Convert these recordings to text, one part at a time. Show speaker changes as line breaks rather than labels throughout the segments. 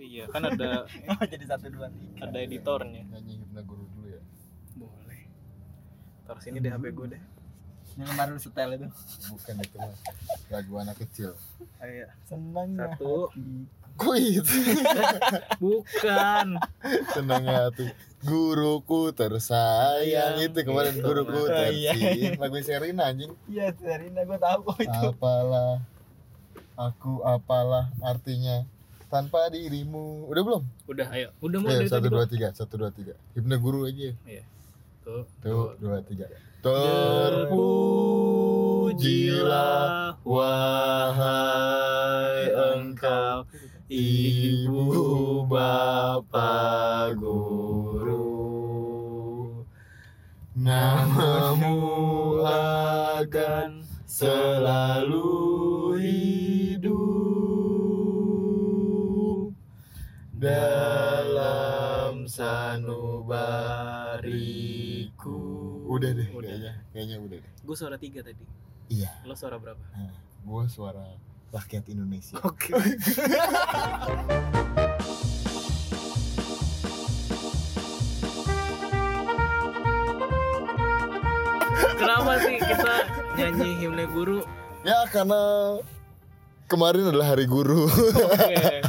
iya kan ada
jadi satu dua tiga
ada editornya
nyanyi Hipnaguru dulu ya
boleh taruh sini deh hp gue deh
yang kemarin lu setel itu
bukan itu mas lagu anak kecil
Ayo.
senangnya
satu
kuit
bukan
senangnya hati guruku tersayang
Sayang.
itu kemarin
Itu,
guruku
Mas. Oh, iya.
tersayang lagu Serina anjing
iya Serina gue tahu kok itu
apalah aku apalah artinya tanpa dirimu udah belum
udah ayo udah mau
ya
dari
satu
tadi
dua
Bang.
tiga satu dua tiga Hipnaguru aja
Iya. tuh
tuh dua tiga
terpujilah
wahai
engkau ibu bapa guru
namamu
dan
akan selalu hidup dalam sanubariku udah deh
Udah.
kayaknya kayaknya udah deh
gue suara tiga tadi
iya
lo suara berapa
gua suara rakyat Indonesia
oke kenapa sih kita nyanyi himne guru
ya karena kemarin adalah hari guru
Oke.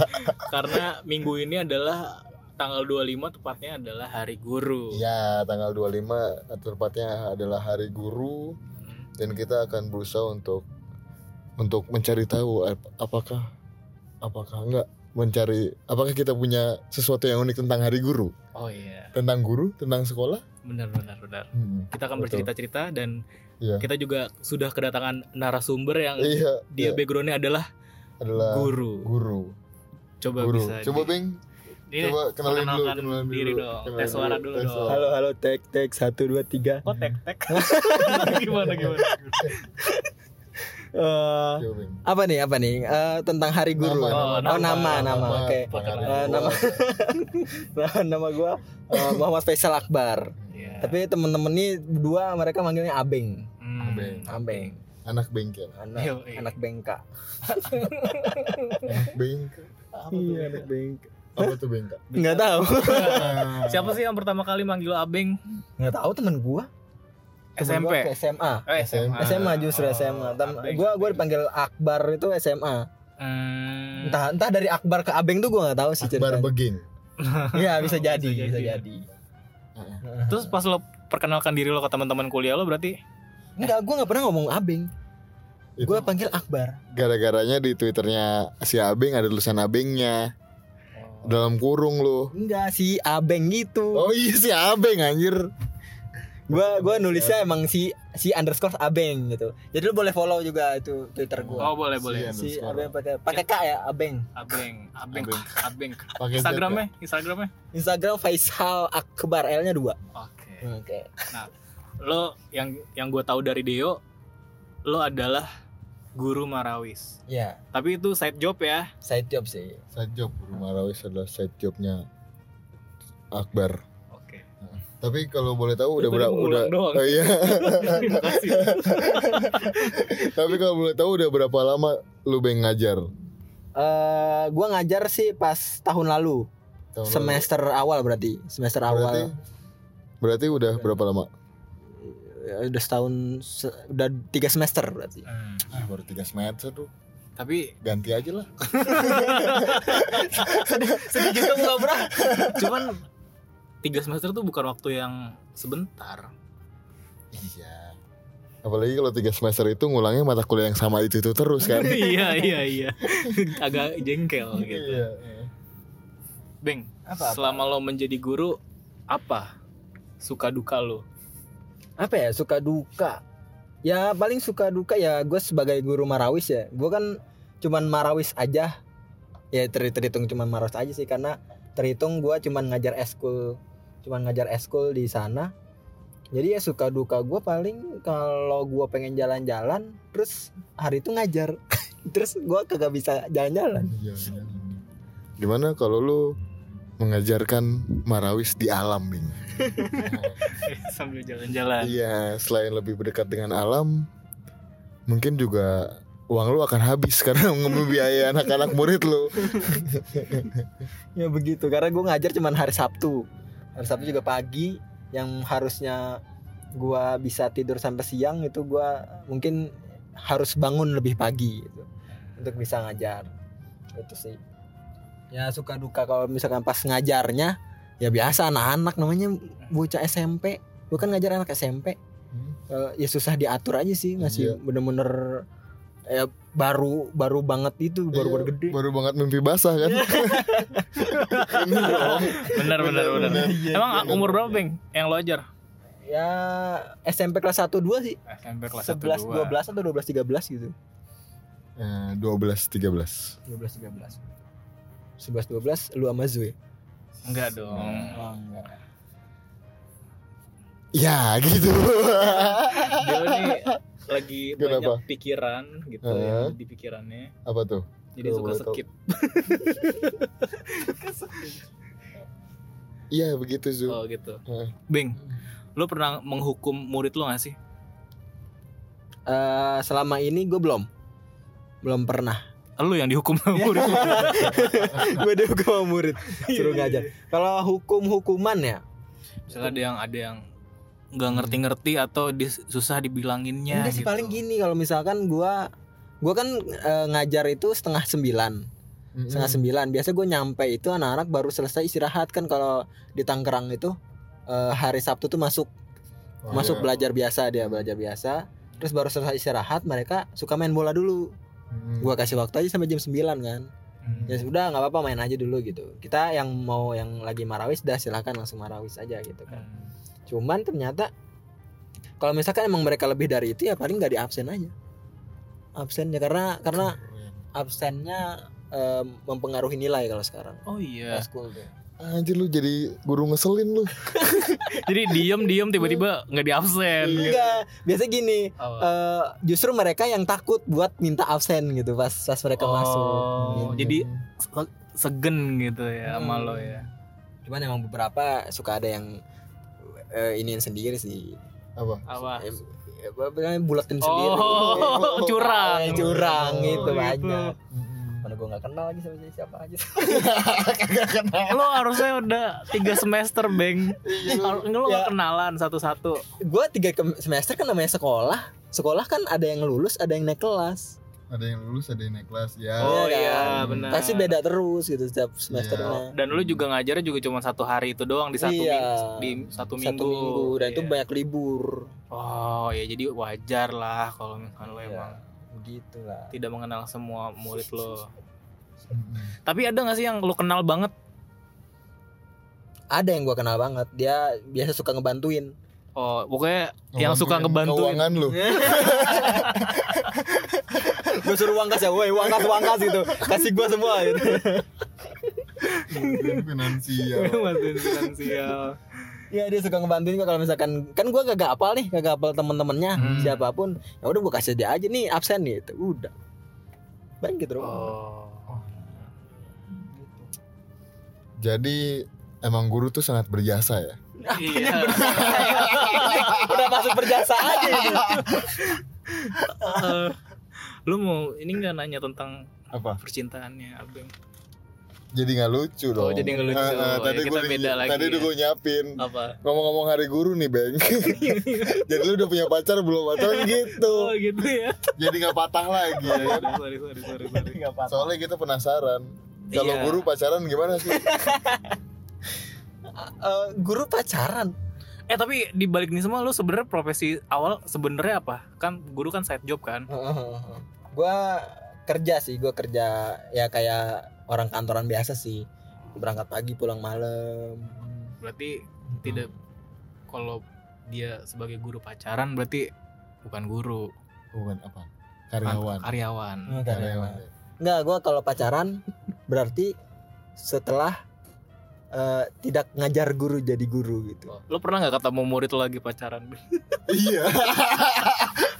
karena minggu ini adalah tanggal 25 tepatnya adalah hari guru
ya tanggal 25 tepatnya adalah hari guru
Hmm.
dan kita akan berusaha untuk untuk mencari tahu ap- apakah apakah enggak mencari apakah kita punya sesuatu yang unik tentang hari guru
oh iya
tentang guru tentang sekolah
benar benar benar
Hmm,
kita akan
Betul.
bercerita-cerita dan
Iya.
kita juga sudah kedatangan narasumber yang
iya
dia
iya,
backgroundnya adalah
adalah guru
guru
guru,
coba bisa
coba
di-
Bing
ini
coba kenalin dulu
perkenalkan
kenalin
diri dong. Tes suara dulu
tes
dong.
suara.
halo halo tek tek satu dua tiga
kok tek tek gimana gimana
Eh,
Coba, Bing.
apa nih apa nih Eh, tentang hari guru
Nama,
Oh,
nama, nama, nama, oke.
Pengaruh
Eh,
gua.
nama Nah, nama gua eh, Muhammad Faisal Akbar
Iya.
tapi temen-temen nih dua mereka manggilnya Abeng
Hmm.
Beng.
Abeng
anak bengkel
anak
Yo, iya.
anak bengka
bengkel
Apa tuh,
Iya,
Beng?
bengka
apa tuh bengkel
nggak tahu
Iya.
siapa sih yang pertama kali manggil lo abeng
nggak tahu temen gua
SMP
Temen gua ke SMA
oh, SMA
SMA justru
Oh,
SMA. Tam,
Abeng.
gua gua dipanggil Akbar itu SMA.
Hmm.
Entah entah dari Akbar ke Abeng tuh gua nggak tahu sih
Akbar
ceritanya.
Begin
Iya bisa jadi,
Bisa
bisa
jadi.
jadi.
terus pas lo perkenalkan diri lo ke teman-teman kuliah lo berarti
Enggak, gua nggak pernah ngomong Abeng.
Itu
Gua panggil Akbar.
gara-garanya di twitternya si Abeng ada tulisan Abengnya dalam kurung lu
Enggak si Abeng gitu.
Oh iya si Abeng anjir.
Gua gua nulisnya emang si si underscore Abeng gitu. Jadi lu boleh follow juga itu Twitter
oh
gua.
boleh boleh
Siap.
si
underscore.
Abeng pakai pakai K ya Abeng.
abeng abeng
Abeng.
abeng
Pakai Z,
instagramnya instagramnya
Instagram Faisal Akbar L-nya dua.
oke
Oke.
lo yang yang gue tahu dari Deo lo adalah guru marawis
Iya,
tapi itu side job ya
side job sih.
ya? Side job Guru Marawis adalah side jobnya Akbar.
oke
Tapi kalau boleh tahu udah
Itu
berapa
tadi
udah
mengulang doang.
Oh, iya.
terima kasih
Tapi kalau boleh tahu udah berapa lama lu beng ngajar?
Eh gua ngajar sih pas tahun lalu.
Tahun lalu.
semester awal berarti semester
Berarti
awal Iya.
berarti udah berapa lama?
Ya, udah setahun se- udah tiga semester berarti
Hmm.
Ah, baru 3 semester tuh.
tapi
Ganti aja lah.
sedih juga muka bro
cuman tiga semester tuh bukan waktu yang sebentar
Iya. Apalagi kalau 3 semester itu ngulangnya mata kuliah yang sama itu itu terus kan.
iya iya iya agak jengkel gitu
Iya.
Beng
Apa, apa?
selama lo menjadi guru apa suka duka lo
apa ya suka duka ya paling suka duka ya gue sebagai guru marawis ya gue kan cuman marawis aja ya ter- terhitung cuman marawis aja sih karena terhitung gue cuman ngajar eskul cuman ngajar eskul di sana jadi ya suka duka gue paling kalau gue pengen jalan-jalan terus hari itu ngajar terus gue kagak bisa jalan-jalan
Iya, iya. Gimana kalau lu mengajarkan marawis di alam, Bing?
sambil jalan-jalan Kan.
Iya, selain lebih berdekat dengan alam, mungkin juga uang lu akan habis karena ngebiayai anak-anak murid lu.
ya begitu karena gue ngajar cuman hari Sabtu hari Sabtu juga pagi yang harusnya gue bisa tidur sampai siang itu gue mungkin harus bangun lebih pagi gitu untuk bisa ngajar itu sih ya suka duka kalau misalkan pas ngajarnya ya biasa anak-anak namanya bocah SMP gue kan ngajar anak SMP Eh, ya susah diatur aja sih
Hmm. Iya.
ngasih bener-bener ya baru baru banget itu baru baru
Iya,
gede
Baru banget mimpi basah kan.
Iya.
Ini dong.
Bener bener bener. Emang umur berapa Beng yang lo ajar?
ya SMP kelas 1 2 sih.
SMP kelas
11
1
12 atau 12 13 gitu.
Eh, 12 13.
12 13. 11 12 lu sama Zul ya?
Enggak dong.
Oh, enggak.
Ya, gitu.
Dia nih lagi
Kenapa?
banyak pikiran gitu
Heeh.
yang di pikirannya.
Apa tuh?
Jadi suka
Gua boleh tahu.
skip.
Iya, begitu, Zu.
Oh gitu.
Heeh.
Beng, lo pernah menghukum murid lo gak sih?
Eh, selama ini gue belum belum pernah
Lo yang dihukum sama
Iya.
murid. Iya, lo.
gue deh gue sama murid suruh ngajar kalau hukum hukuman ya
Misalnya ada yang ada yang nggak ngerti-ngerti atau dis- susah dibilanginnya
enggak sih
gitu.
paling gini kalau misalkan gue gue kan eh, ngajar itu setengah sembilan
Mm-mm.
setengah
Hmm.
sembilan biasa gue nyampe itu anak-anak baru selesai istirahat kan kalau di Tangerang itu eh, hari Sabtu tuh masuk
Oh,
masuk
iya.
belajar biasa dia belajar biasa terus baru selesai istirahat mereka suka main bola dulu
Mm.
gua kasih waktu aja sampai jam 9 kan
Hmm.
ya sudah nggak apa-apa main aja dulu gitu kita yang mau yang lagi marawis dah silakan langsung marawis aja gitu kan
Hmm.
cuman ternyata kalau misalkan emang mereka lebih dari itu ya paling nggak di absen aja absennya karena karena absennya em, mempengaruhi nilai kalau sekarang
Oh iya.
School tuh.
Anjir lu jadi guru ngeselin lu.
Jadi diem-diem tiba-tiba nggak di absen.
enggak biasa gini
Oh.
eh, justru mereka yang takut buat minta absen gitu pas pas mereka
Oh,
masuk. Gitu.
Oh,
Iya.
jadi se- segen gitu ya
Hmm.
sama lo ya.
Cuman emang beberapa suka ada yang eh, iniin sendiri sih.
apa?
Apa?
Eh, eh, bulatin sendiri.
Oh, curang.
Eh, curang
Oh,
gitu
gitu.
banyak. Mana gue gak kenal lagi sama siapa, siapa aja.
Lo harusnya udah tiga semester, Beng. Har- Lo
Ya.
nggak kenalan satu-satu.
gue tiga kem- semester kan namanya sekolah. Sekolah kan ada yang lulus, ada yang naik kelas.
Ada yang lulus, ada yang naik kelas. Ya.
Oh
Iya
iya,
kan?
benar.
Pasti beda terus gitu setiap semesternya.
Dan lo juga ngajarnya juga cuma satu hari itu doang di satu
Iya.
minggu, di satu minggu.
Satu minggu dan itu
Iya.
banyak libur.
Oh ya jadi wajar lah kalau misalkan lo
Iya.
emang
Gitu lah.
tidak mengenal semua murid lo.
Mm-mm.
Tapi ada nggak sih yang lo kenal banget?
ada yang gua kenal banget dia biasa suka ngebantuin
Oh pokoknya Yang suka ngebantuin.
keuangan lu.
gue suruh uang kas ya woi uang kas uang kas gitu kasih gua semua gitu
Bantuin finansial.
Bantuin finansial.
ya dia suka ngebantuin gua kalau misalkan kan gua kagak apal nih kagak apal temen-temennya
Hmm.
siapapun ya udah gua kasih dia aja nih absen gitu udah banyak gitu doang.
Oh.
Jadi emang guru tuh sangat berjasa ya.
Iya.
udah masuk berjasa aja gitu.
Eh, lu mau ini nggak nanya tentang
Apa?
percintaannya Abeng?
Jadi nggak lucu
Oh,
dong.
jadi nggak lucu.
Eh, eh,
Ya,
tadi
kita
gua
beda lagi
Tadi
ya.
gue nyiapin.
Apa?
Ngomong-ngomong hari guru nih, Bang. jadi lu udah punya pacar belum atau gitu?
Oh gitu ya.
Jadi nggak patah lagi.
Iya,
ya kan?
sorry sorry sorry sorry.
Soalnya kita penasaran. Kalau
Iya.
guru pacaran gimana sih?
Eh, guru pacaran
Eh tapi di balik ini semua lu sebenarnya profesi awal sebenarnya apa? Kan guru kan side job kan.
gua kerja sih gua kerja ya kayak orang kantoran biasa sih berangkat pagi pulang malam
Berarti tidak kalau dia sebagai guru pacaran berarti bukan guru,
Oh,
kan?
Bukan apa? Karyawan.
karyawan. Hmm.
Karyawan.
Enggak, gua kalau pacaran berarti setelah eh, tidak ngajar guru jadi guru gitu.
Lo pernah nggak ketemu murid lo lagi pacaran?
Iya.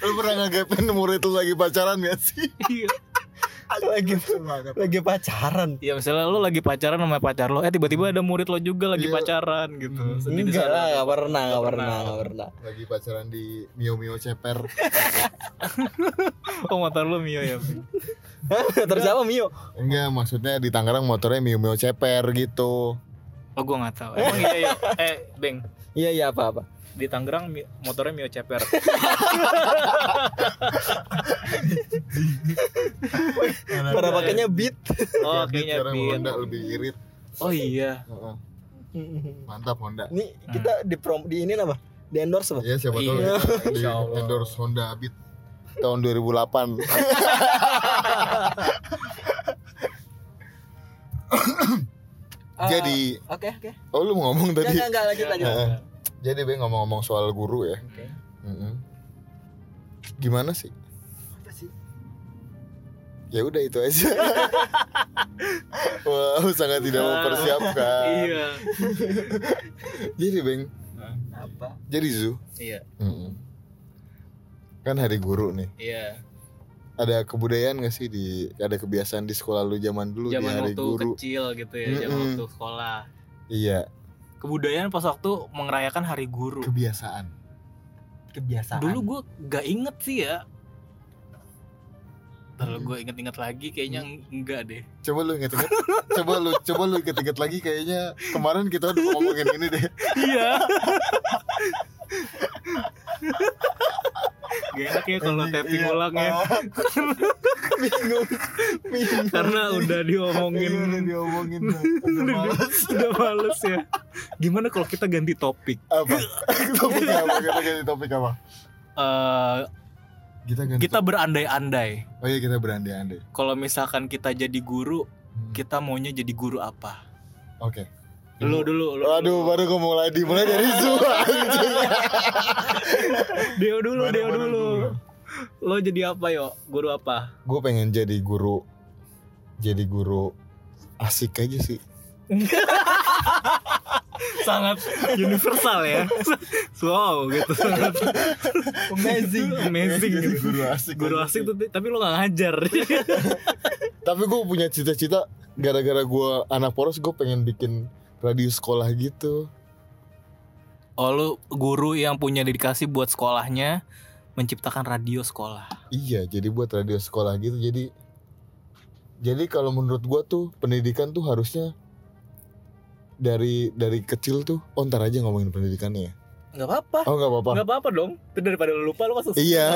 lu pernah ngegepin murid lu lagi pacaran gak sih?
Iya.
lagi
banget.
lagi pacaran
Ya misalnya lo lagi pacaran sama pacar lo, eh tiba-tiba ada murid lo juga lagi
Iya.
pacaran gitu.
Hmm,
Sedih di sana.
enggak lah nggak pernah nggak
Nggak
pernah
pernah.
nggak pernah
Lagi pacaran di Mio Mio Ceper.
Oh motor lo Mio ya. Bi?
terus apa Mio
Enggak, maksudnya di Tangerang motornya Mio Mio Ceper gitu.
Oh gue nggak tahu. Emang iya ya. Eh Beng
iya iya apa apa
di Tangerang Mi- motornya Mio Ceper.
pada pakainya beat
Oh
Kredit
kayaknya
sekarang
Bi.
Honda lebih irit.
Oh iya.
Heeh, Mantap Honda.
ini kita di prom di ini apa di endorse apa
Iya siapa tahu
Iya.
kita di
Insya Allah.
endorse Honda Beat tahun 2008.
Ah,
Jadi, Nah.
oke oke
oh lu mau ngomong
Enggak,
tadi.
Iya.
enggak enggak lanjut lanjut
Heeh. Jadi gue ngomong-ngomong soal guru ya.
Oke.
Mm-mm. Gimana sih?
Apa sih?
Ya udah itu aja. Wow, sangat tidak mempersiapkan.
Ah. Iya.
Jadi Beng,
apa
jadi Zu.
Iya.
Mm-mm. Kan hari guru nih.
Iya.
Ada kebudayaan gak sih di ada kebiasaan di sekolah lu zaman dulu di
Zaman
hari
waktu
guru?
kecil gitu ya, zaman
Mm-mm.
waktu sekolah.
Iya,
Kebudayaan pas waktu merayakan hari guru.
kebiasaan.
kebiasaan
Dulu gue gak inget sih ya. Terus gue inget-inget lagi kayaknya
Mm.
enggak deh.
Coba lu inget-inget. coba lu coba lu inget-inget lagi kayaknya kemarin kita udah ngomongin ini deh.
Iya. gak enak ya kalau tapping
Iya.
ulang ya.
Bingung. Bingung.
Karena udah diomongin.
Iya, udah diomongin. Bang. Udah
Udah
malas.
udah males ya. Gimana kalau kita ganti topik?
apa? topik apa? Kita ganti topik apa?
Eh,
Kita ganti.
kita
topik.
berandai-andai.
Oh iya kita berandai-andai.
Kalau misalkan kita jadi guru,
Hmm.
kita maunya jadi guru apa?
Oke.
Lu dulu, lu.
Aduh,
dulu.
baru gue mulai dimulai dari Zu.
Deo dulu, Deo dulu. Lo jadi apa yo? Guru apa?
Gue pengen jadi guru. Jadi guru asik aja sih.
Sangat universal ya. Wow, gitu sangat
amazing
amazing
Jadi
gitu.
guru asik.
Guru
aja
asik
sih.
tuh, tapi lo gak ngajar.
Tapi gue punya cita-cita gara-gara gue anak poros gue pengen bikin radio sekolah gitu.
Oh, lo guru yang punya dedikasi buat sekolahnya menciptakan radio sekolah.
Iya, jadi buat radio sekolah gitu. Jadi jadi kalau menurut gua tuh pendidikan tuh harusnya dari dari kecil tuh oh ntar aja ngomongin pendidikannya ya.
nggak apa apa
Oh nggak apa-apa.
Gak apa-apa dong. Itu daripada lo lupa lo langsung
Iya.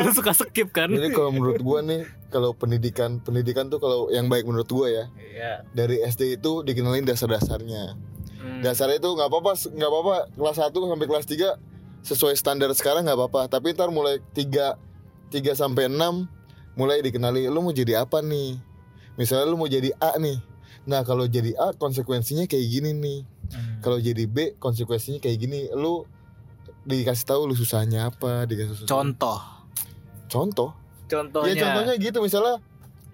lo suka skip kan?
Jadi kalau menurut gua nih kalau pendidikan pendidikan tuh kalau yang baik menurut gua ya
Iya.
dari SD itu dikenalin dasar-dasarnya.
Hmm.
Dasarnya itu nggak apa-apa nggak apa-apa kelas 1 sampai kelas 3 sesuai standar sekarang nggak apa-apa. Tapi ntar mulai 3 3 sampai 6 mulai dikenali lu mau jadi apa nih? Misalnya lu mau jadi A nih. Nah, kalau jadi A konsekuensinya kayak gini nih.
Hmm.
Kalau jadi B konsekuensinya kayak gini. Lu dikasih tahu lu susahnya apa, dikasih susah.
Contoh.
contoh.
Contohnya.
Ya contohnya gitu misalnya.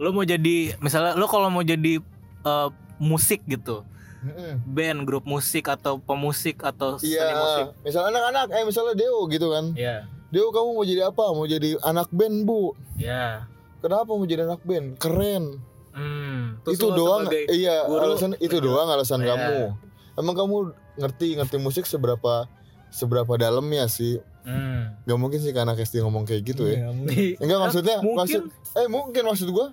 Lo mau jadi misalnya lo kalau mau jadi eh, musik gitu,
Mm-mm.
band, grup musik atau pemusik atau seni
Iya,
musik.
misalnya anak-anak, eh misalnya Deo gitu kan.
Iya.
Deo kamu mau jadi apa? Mau jadi anak band bu?
Iya.
Kenapa mau jadi anak band? Keren.
Hmm. Terus
itu
lo
doang.
sebagai-
Iya,
guru,
alasan itu
bener.
doang alasan
Iya.
kamu. Emang kamu ngerti ngerti musik seberapa seberapa dalamnya sih?
Hmm.
Gak mungkin sih ke anak SD ngomong kayak gitu
Iya.
Iya,
ya. Enggak maksudnya maksud
Mungkin
eh mungkin maksud gua.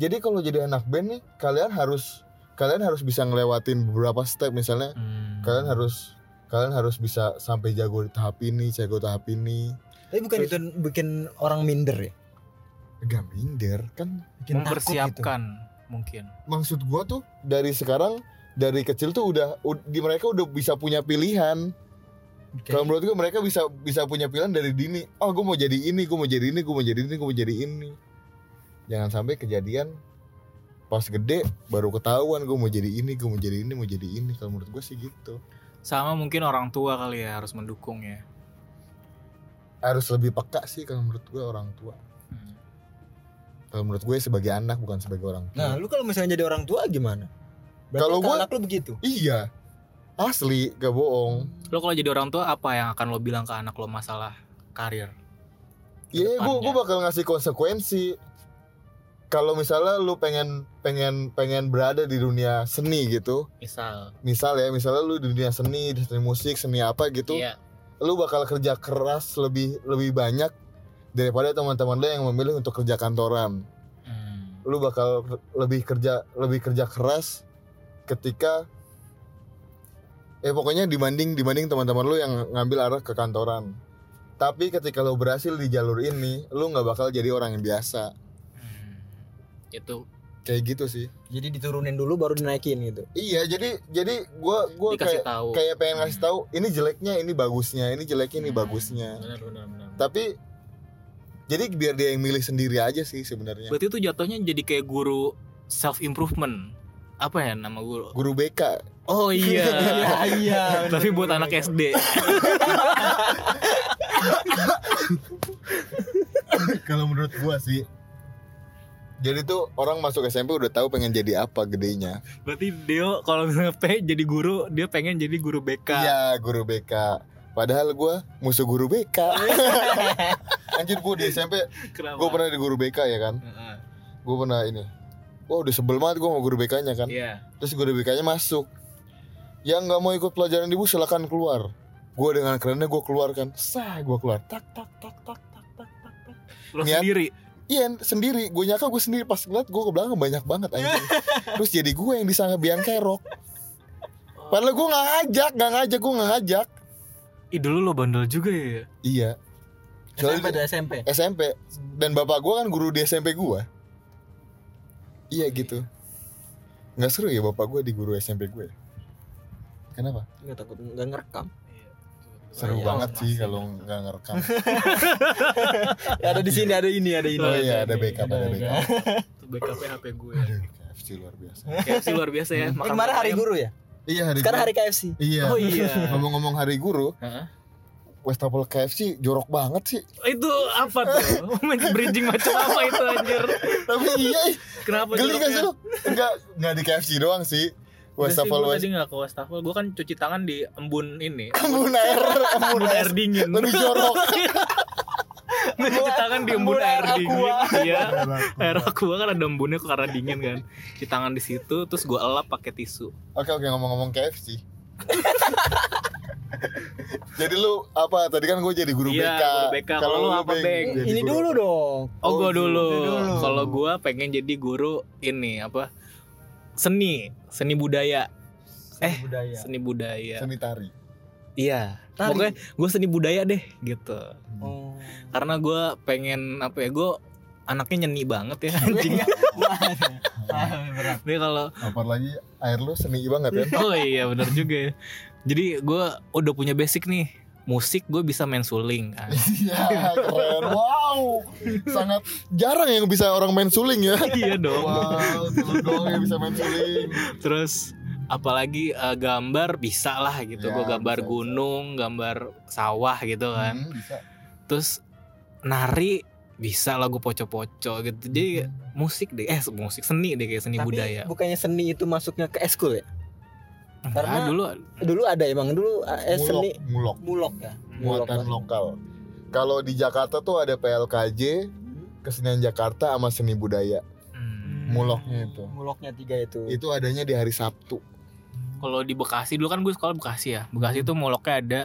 Jadi kalau jadi anak band nih kalian harus kalian harus bisa ngelewatin beberapa step misalnya
Hmm.
kalian harus kalian harus bisa sampai jago di tahap ini, jago tahap ini.
tapi bukan itu bikin orang minder ya
Gak minder kan
bikin takut gitu.
mempersiapkan mungkin.
maksud gua tuh dari sekarang dari kecil tuh udah ud- di mereka udah bisa punya pilihan.
gitu. Oke.
Kalau menurut gua mereka bisa bisa punya pilihan dari dini. Oh, gua mau jadi ini, gua mau jadi ini, gua mau jadi ini, gua mau jadi ini. Jangan sampai kejadian pas gede baru ketahuan gua mau jadi ini, gua mau jadi ini, mau jadi ini. Kalau menurut gua sih gitu.
Sama mungkin orang tua kali ya harus mendukung ya.
Harus lebih peka sih kalau menurut gua orang tua.
Hmm.
Kalau menurut gue sebagai anak bukan sebagai orang tua.
nah lu kalau misalnya jadi orang tua gimana Berarti
Kalau
ke
gua-
anak lu begitu
Iya. Asli, gak bohong.
Lo kalau jadi orang tua apa yang akan lo bilang ke anak lo masalah karir?
Iya, gue
Kedepannya.
gue bakal ngasih konsekuensi. kalau misalnya lu pengen pengen pengen berada di dunia seni gitu
misal
misal ya misalnya lu di dunia seni di seni musik seni apa gitu
iya
lu bakal kerja keras lebih lebih banyak daripada teman-teman lu yang memilih untuk kerja kantoran
Hmm.
lu bakal lebih kerja lebih kerja keras ketika eh pokoknya dibanding dibanding teman-teman lu yang ngambil arah ke kantoran tapi ketika lu berhasil di jalur ini lu nggak bakal jadi orang yang biasa
Hmm. itu
kayak gitu sih
Jadi diturunin dulu baru dinaikin gitu.
iya jadi jadi gua gua
dikasih
kayak
tahu
kayak pengen ngasih tahu ini jeleknya ini bagusnya ini jeleknya ini
Hmm.
bagusnya
benar benar benar
tapi jadi biar dia yang milih sendiri aja sih sebenarnya
berarti itu jatuhnya jadi kayak guru self improvement apa ya nama guru
guru BK
oh iya
iya.
tapi buat anak SD
kalau menurut gua sih jadi tuh orang masuk SMP udah tahu pengen jadi apa gedenya
berarti Dio kalau misalnya P jadi guru dia pengen jadi guru BK
iya guru BK padahal gua musuh guru BK anjir gua di SMP
kenapa
gua pernah di guru BK ya kan
Heeh.
gua pernah ini wah udah sebel banget gua sama guru BK nya kan
iya
terus guru BK nya masuk yang nggak mau ikut pelajaran ibu silakan keluar gua dengan kerennya gua keluar kan sah gua keluar tak tak tak tak tak tak tak tak
lo
Niat-
sendiri
Iya sendiri, gue nyangka gue sendiri pas ngeliat gue ke belakang banyak banget anjing Terus jadi gue yang disangka biang kerok Padahal gue gak ngajak, gak ngajak, gue gak ngajak
Ih dulu lo bandel juga ya
Iya
SMP
Soalnya
tuh SMP.
SMP Dan bapak gue kan guru di SMP gue Iya gitu Gak seru ya bapak gue di guru SMP gue ya? Kenapa?
Enggak takut enggak ngerekam.
Seru
Iya,
banget sih
masih.
kalau gak ngerekam
Ya, ada di sini, ada ini, ada ini.
Oh iya ada backup, ada
Ada.
backup
Itu BKP ya, HP gue
Aduh KFC luar biasa
KFC luar biasa ya
Oh, Kemarin hari guru ya?
Iya hari
Sekarang
guru
hari KFC.
Iya
Oh iya
Ngomong-ngomong hari guru
Heeh.
Westafel KFC jorok banget sih
Itu apa tuh? Bridging macam apa itu anjir
Tapi iya ih.
Kenapa
Geli gak
joroknya?
sih lu? Enggak, enggak di KFC doang sih. Wastafel
Wastafel
West
tadi nggak ke wastafel, gue kan cuci tangan di embun ini,
Embun air, embun
embun
air.
air dingin.
Lebih jorok.
Gua cuci tangan di embun
Embun
air
air
dingin. Iya. Air
Oke
aku kan ada embunnya karena dingin kan. Cuci tangan di situ, terus gue elap pakai tisu.
oke ngomong-ngomong KFC. jadi lu apa? Tadi kan gue jadi guru
Iya,
BK.
guru BK. Kalau lu apa, Beng?
jadi
Ini
guru.
dulu dong.
Oh,
Oh,
gue dulu.
guru dulu.
Kalau gue pengen jadi guru ini apa? Seni, seni budaya, Eh,
budaya.
seni budaya.
Ya. Seni tari.
Iya.
Tari.
Pokoknya gue seni budaya deh gitu.
Hmm,
Oh.
Karena gue pengen apa ya? Gue anaknya nyeni banget ya anjing. Ini kalau
Apalagi air lu seni banget ya.
Oh iya benar juga ya. Jadi gue udah punya basic nih musik gue bisa main suling kan.
Iya, keren. Wow. Sangat jarang yang bisa orang main suling ya.
iya dong.
Wow, lu doang yang bisa main suling.
Terus apalagi eh, gambar bisa lah gitu.
Ya,
gue gambar
bisa, bisa.
gunung, gambar sawah gitu kan.
Hmm, bisa.
Terus nari bisa lah gue poco-poco gitu. Jadi musik deh, eh musik seni deh kayak seni
Tapi
budaya.
bukannya seni itu masuknya ke eskul ya?
Karena
karena-
dulu
Dulu ada emang dulu eh,
Mulok,
seni
mulok.
mulok ya. Mulok.
muatan lokal. Kalau di Jakarta tuh ada PLKJ, kesenian Jakarta sama seni budaya.
Hmm.
Muloknya itu.
Muloknya tiga itu.
Itu adanya di hari Sabtu.
kalau di Bekasi dulu kan gue sekolah Bekasi ya. Bekasi itu muloknya ada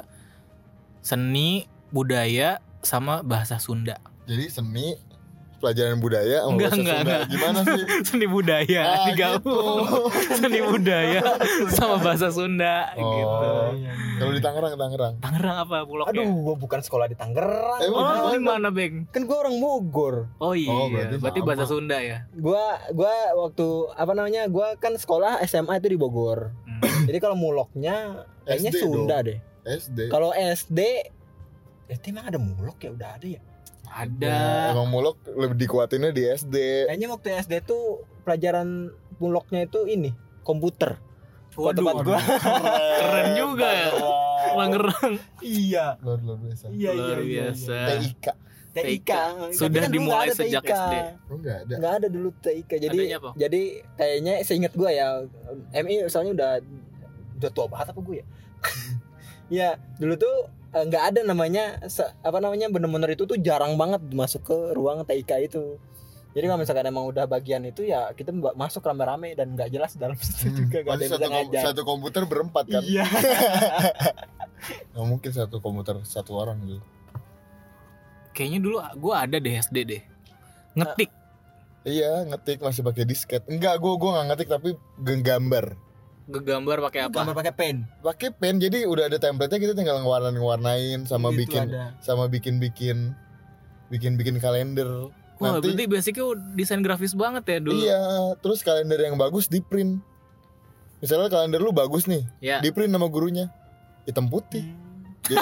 seni, budaya sama bahasa Sunda.
Jadi seni, pelajaran budaya sama
Enggak,
bahasa
enggak,
Sunda.
enggak.
Gimana sih?
seni budaya
Ah,
digabung.
gitu.
seni budaya sama bahasa Sunda
Oh.
gitu.
Kalau di Tangerang, Tangerang.
Tangerang apa muloknya?
iya. Aduh, gua bukan sekolah di Tangerang.
Emang
Oh,
gimana?
di mana, Beng?
Kan gua orang Bogor.
Oh iya,
Oh,
berarti,
berarti sama.
bahasa Sunda ya.
gua gua waktu apa namanya gua kan sekolah SMA itu di Bogor
Hmm.
jadi kalau muloknya kayaknya
SD
Sunda deh
SD.
kalau SD SD emang ada mulok ya udah ada ya
Ada.
Ya,
Iya.
emang mulok lebih dikuatinnya di SD.
kayaknya waktu SD tuh pelajaran muloknya itu ini komputer Kalau
Waduh,
tempat gua
Keren juga ya.
Oh.
Tangerang
iya
Luar luar biasa.
iya
luar biasa.
TIK.
TIK Tapi
Sudah
kan dulu
dimulai
nggak ada
sejak
TIK.
SD.
Oh, enggak ada.
nggak ada dulu TIK jadi
Adanya apa?
jadi kayaknya seingat gua ya MI soalnya udah udah tua banget apa gue ya ya dulu tuh eh, nggak ada namanya se- apa namanya bener-bener itu tuh jarang banget masuk ke ruang TIK itu Jadi kalau misalkan emang udah bagian itu ya kita mbak- masuk rame-rame dan nggak jelas dalam situ
Hmm.
juga nggak ada
Pasti
yang
satu,
bisa
kom-
ngajar.
satu komputer berempat kan
Iya.
Nggak mungkin satu komputer satu orang gitu
Kayaknya dulu gua ada deh SD deh. Ngetik.
Iya ngetik masih pakai disket Enggak gue gua nggak ngetik tapi gambar
Ngegambar pakai apa?
Gambar pakai pen.
pakai pen jadi udah ada template-nya kita tinggal ngewarnain-ngewarnain sama
Itu
bikin
ada.
sama bikin-bikin bikin-bikin kalender
Wah,
nanti-
berarti basicnya desain grafis banget ya dulu.
Iya, terus kalender yang bagus di print. Misalnya kalender lu bagus nih,
Ya.
di print sama gurunya hitam putih. Jadi,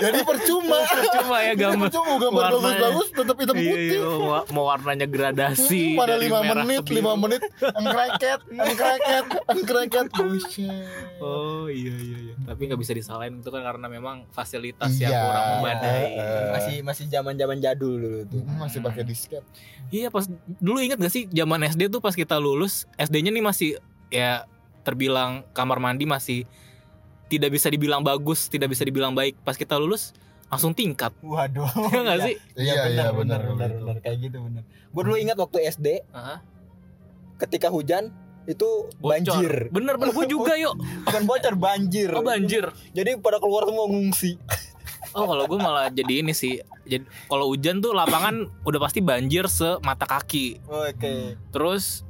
jadi percuma.
Cuma ya
Jadi
gambar.
percuma gambar
warnanya.
bagus-bagus tetap hitam
Iya,
putih.
iya, wa- mau warnanya
Hmm,
gradasi
pada
dari
lima
merah ke
menit,
biru.
lima menit, angkreket, angkreket, angkreket, buset.
Oh iya iya iya. Tapi nggak bisa disalahin itu kan karena memang fasilitas yang
Iya.
kurang memadai.
Iya.
Eh, Masih masih zaman-zaman jadul dulu tuh.
Hmm, Masih pakai disket.
Iya pas dulu inget gak sih zaman SD tuh pas kita lulus SD-nya nih masih ya terbilang kamar mandi masih tidak bisa dibilang bagus, tidak bisa dibilang baik. Pas kita lulus langsung tingkat.
Waduh.
Iya nggak sih?
Iya, iya, benar,
benar,
benar.
benar. kayak gitu benar. Gue dulu ingat waktu SD
Heeh.
ketika hujan itu
Bocor.
banjir,
Bener bener gue juga yuk.
bukan bocor banjir.
Oh banjir.
Jadi pada keluar semua ngungsi.
Oh kalau gue malah jadi ini sih. Jadi kalau hujan tuh lapangan udah pasti banjir semata kaki.
Oke.
Terus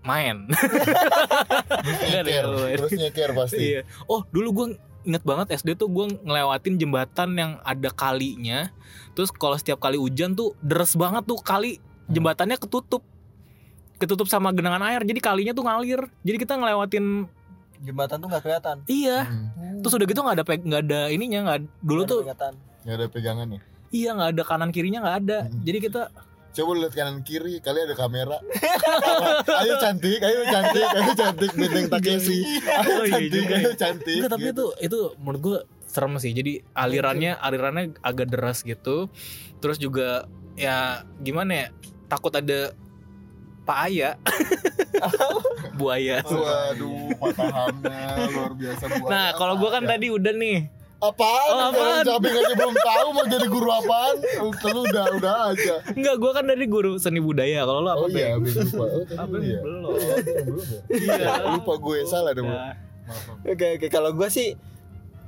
main. Nggak ada
Nyeker,
yang lain.
terus nyeker pasti.
Iya. Oh, dulu gue inget banget SD tuh gue ngelewatin jembatan yang ada kalinya. Terus kalau setiap kali hujan tuh deres banget tuh kali
Hmm.
jembatannya ketutup. Ketutup sama genangan air. Jadi kalinya tuh ngalir. Jadi kita ngelewatin
Jembatan tuh nggak kelihatan.
iya.
Hmm,
Terus udah gitu nggak ada pe- nggak ada ininya nggak dulu
Nggak ada
tuh
kelihatan.
nggak ada pegangan ya.
iya nggak ada kanan kirinya nggak ada.
Hmm.
Jadi kita
Coba lu lihat kanan kiri, kali ada kamera. ayo cantik, ayo cantik, ayo cantik benteng Takeshi.
Oh,
Ayo
iya
cantik,
juga ya.
ayo cantik.
Enggak, tapi
gitu.
itu itu menurut gue serem sih. Jadi alirannya alirannya agak deras gitu. Terus juga ya gimana ya? Takut ada Pak Aya. buaya.
Gitu. Waduh, patahannya luar biasa buat.
Nah, kalau gue kan tadi udah nih.
apaan?
Oh, apaan?
Kalau Jabing aja belum tahu mau jadi guru apaan. Lu udah udah aja.
Enggak, gue kan dari guru seni budaya. Kalau lo apa,
Oh iya,
Bang?
Bing, lupa. Oh, tadi
Apa
lu ya.
belum?
Belum ya?
Iya.
Lupa gue, salah dong.
Nah,
Maaf, maaf.
Oke oke kalau gue sih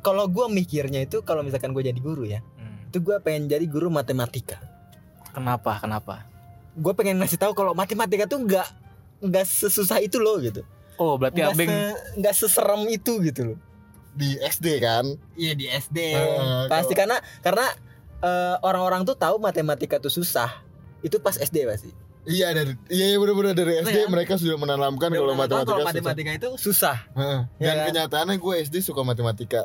kalau gue mikirnya itu kalau misalkan gue jadi guru ya,
hmm.
itu gue pengen jadi guru matematika.
Kenapa? Kenapa?
Gue pengen ngasih tahu kalau matematika tuh nggak nggak sesusah itu loh gitu.
Oh, berarti
Nggak
Abeng
se- nggak seserem itu gitu loh.
Di SD kan?
Iya di SD.
Eh,
pasti karena karena eh, orang-orang tuh tahu matematika tuh susah. Itu pas SD pasti.
Iya dari iya iya, benar-benar dari
Betul
SD
ya?
mereka sudah menanamkan kalau
Orang-orang tahu
matematika.
kalau
susah.
matematika itu susah.
Heeh.
Ya
Dan
kan?
kenyataannya gue SD suka matematika.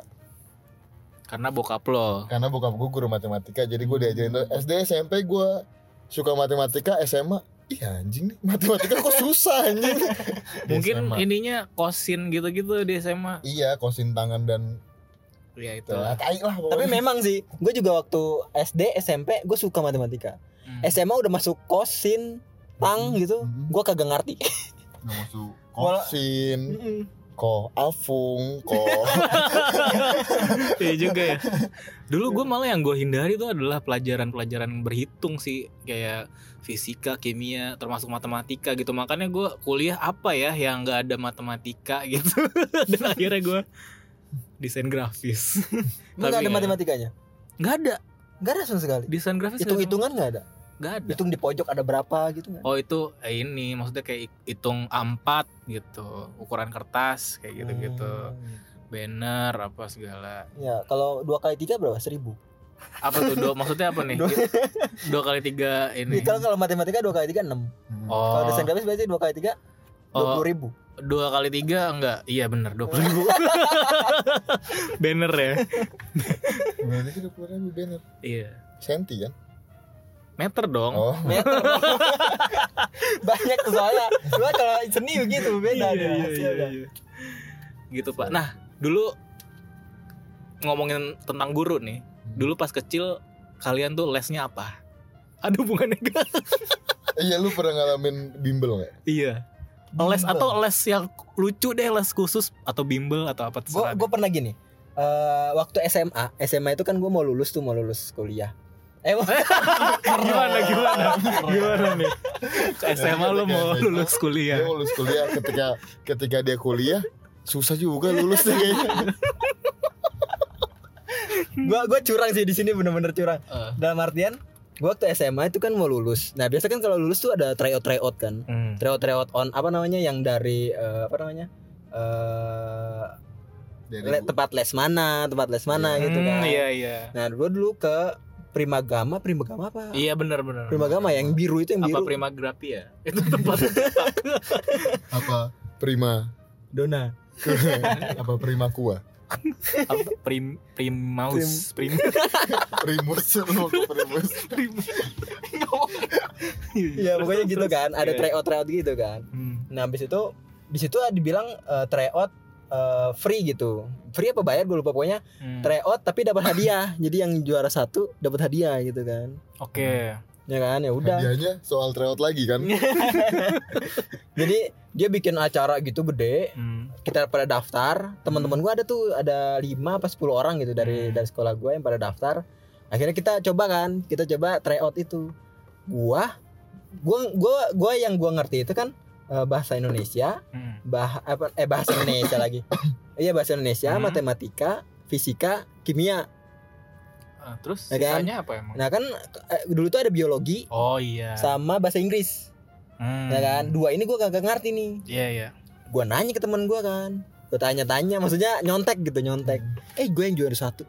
karena bokap lo.
karena bokap gue guru matematika jadi gue diajarin tuh SD SMP gue suka matematika SMA iya anjing nih matematika kok susah anjing Di
Mungkin
SMA.
ininya kosin gitu-gitu di SMA.
iya kosin tangan dan
Iya itu.
telah tai lah
Tapi
pokoknya.
memang sih, gue juga waktu SD, SMP, gue suka matematika.
Hmm.
SMA udah masuk kosin, tang gitu,
Mhm.
gue kagak ngerti.
Nggak masuk
Wala-
kosin ko afung ko
Iya juga ya. Dulu gue malah yang gue hindari itu adalah pelajaran-pelajaran berhitung sih kayak fisika, kimia, termasuk matematika gitu. Makanya gue kuliah apa ya yang nggak ada matematika gitu. Dan akhirnya gue desain grafis. Tapi iya.
Lu nggak ada
nggak ada.
matematikanya?
Nggak ada
Nggak ada sama sekali.
desain grafis. nggak ada.
Hitung-hitungan nggak ada.
Nggak ada.
Hitung di pojok ada berapa gitu nggak?
Oh itu eh, ini maksudnya kayak hitung A4 gitu, ukuran kertas kayak gitu-gitu,
Hmm.
banner apa segala.
Ya, kalau dua kali tiga berapa? Seribu.
Apa tuh do? Maksudnya apa nih?
Dua-
Dua kali tiga ini.
Kalau kalau matematika dua kali tiga enam.
Hmm.
Oh.
Kalau desain grafis berarti dua kali tiga dua
Oh,
puluh ribu.
dua kali tiga enggak iya bener dua ribu banner ya
berarti kita punya lebih banner
iya
senti kan
meter dong
oh
Meter. dong. Banyak tuh soalnya. Lu kalau seni begitu
Iya,
beda. dia. Hasilnya.
gitu pak nah dulu ngomongin tentang guru nih dulu pas kecil kalian tuh lesnya apa ada hubungannya enggak
iya lu pernah ngalamin bimbel nggak
iya les
Bimbel.
atau les yang lucu deh les khusus atau bimbel atau apa
gue
terserah
gue pernah gini eh waktu SMA SMA itu kan gue mau lulus tuh mau lulus kuliah Eh, mau-
gimana gimana gimana nih SMA lu mau
SMA.
lulus kuliah
Dia lulus kuliah ketika ketika dia kuliah susah juga lulus deh kayaknya.
gua gua curang sih di sini bener-bener curang.
Eh.
Dalam artian, gua waktu SMA itu kan mau lulus. Nah, biasa kan kalau lulus tuh ada tryout tryout kan.
Hmm.
Tryout tryout on apa namanya yang dari eh, apa namanya? Eh
Dari
le- tempat les mana, tempat les mana gitu kan.
Hmm, iya iya
Nah, gua dulu ke Primagama, Primagama apa?
iya benar benar
Primagama ya, yang biru itu yang
apa
biru.
prima grafi ya itu tempat
apa prima
Dona.
apa prima kuah
apa prim primaus prim
primus lu ke primus
primus
Iya, pokoknya gitu kan.
Iya.
Ada
Hmm.
tryout tryout gitu kan. Nah, habis itu di situ ada dibilang eh, tryout eh, free gitu. Free apa bayar gue lupa
Hmm.
pokoknya tryout tapi dapat hadiah. Jadi yang juara satu dapat hadiah gitu kan.
Hmm. Oke.
Ya kan, ya udah.
hadiahnya soal tryout lagi kan
Jadi dia bikin acara gitu gede,
Hmm.
kita pada daftar. Teman-teman gua ada tuh ada 5 apa 10 orang gitu dari
Hmm.
dari sekolah gua yang pada daftar. Akhirnya kita coba kan, kita coba tryout itu. Gua gua gua gua yang gua ngerti itu kan eh, bahasa Indonesia,
Hmm.
bah apa eh bahasa Indonesia lagi. Iya bahasa Indonesia,
Hmm.
matematika, fisika, kimia.
Ah, terus
Ya kan?
sisanya apa emang?
Nah, kan eh, dulu tuh ada biologi
Oh iya.
sama bahasa Inggris.
Hmm.
Ya kan? Dua ini gua kagak ngerti nih.
Iya iya.
Gua nanya ke teman gua kan. Gua tanya-tanya, maksudnya nyontek gitu, nyontek. Eh, gue yang juara satu.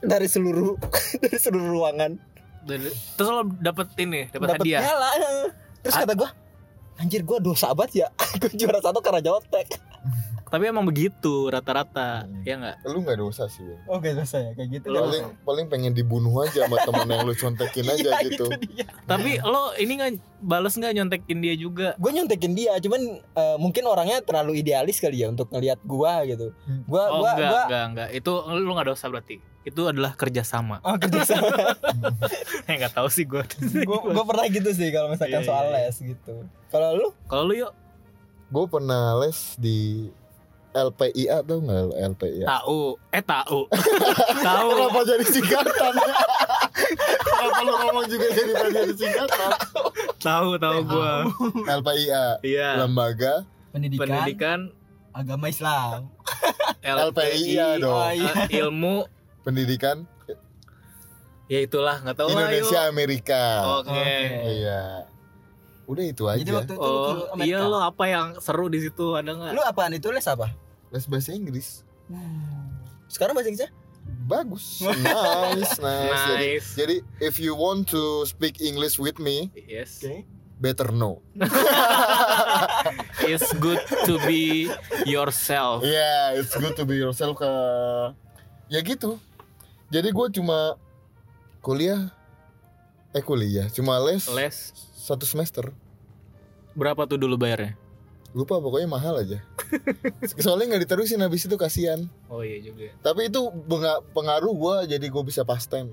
Dari seluruh dari seluruh ruangan.
Dari- Terus lo dapet ini, dapet, hadiah.
piala. Terus
Ah.
kata gua, anjir gua dosa banget ya. gua juara satu karena nyontek.
Tapi emang begitu rata-rata,
Hmm.
ya nggak?
lu nggak dosa sih Bang.
Oh, gak dosa ya kayak gitu.
Lo-
paling paling pengen dibunuh aja sama temen yang lu contekin aja
Iya,
gitu
itu dia.
Tapi lo ini nggak balas nggak nyontekin dia juga?
gue nyontekin dia cuman eh, mungkin orangnya terlalu idealis kali ya untuk ngelihat gua gitu gua
Oh
gua
enggak,
gua
enggak, enggak. Itu lo nggak dosa berarti. Itu adalah kerjasama.
oh kerjasama
Eh nggak tahu sih gue.
gua, gua pernah gitu sih kalau
Iya,
misalkan soal
iya, iya.
les gitu kalau lu
Kalau lo yuk
gue pernah les di LPIA tau nggak lu LPIA
tahu, eh tahu, tahu.
kenapa jadi singkatan kenapa lu ngomong juga jadi bagian singkatan
tahu tahu gue
LPIA
iya
lembaga
pendidikan,
pendidikan
agama Islam
LPI
LPIA
oh,
dong
iya.
eh, ilmu
pendidikan
ya itulah nggak tahu lah yuk
Indonesia Amerika
oke
iya udah itu aja
jadi waktu itu lu ke
oh
Amerika.
iya lo apa yang seru di situ ada nggak
lu apaan itu les apa
les bahasa Inggris
sekarang bahasa Inggrisnya
bagus nice nice, Jadi,
nice
jadi if you want to speak English with me
yes
better know
it's good to be yourself
yeah Iya, it's good to be yourself ke ya gitu jadi gue cuma kuliah eh kuliah cuma les,
les
satu semester
berapa tuh dulu bayarnya
lupa pokoknya mahal aja soalnya nggak diterusin habis itu kasihan
oh iya juga
tapi itu benga- pengaruh gue jadi gue bisa past time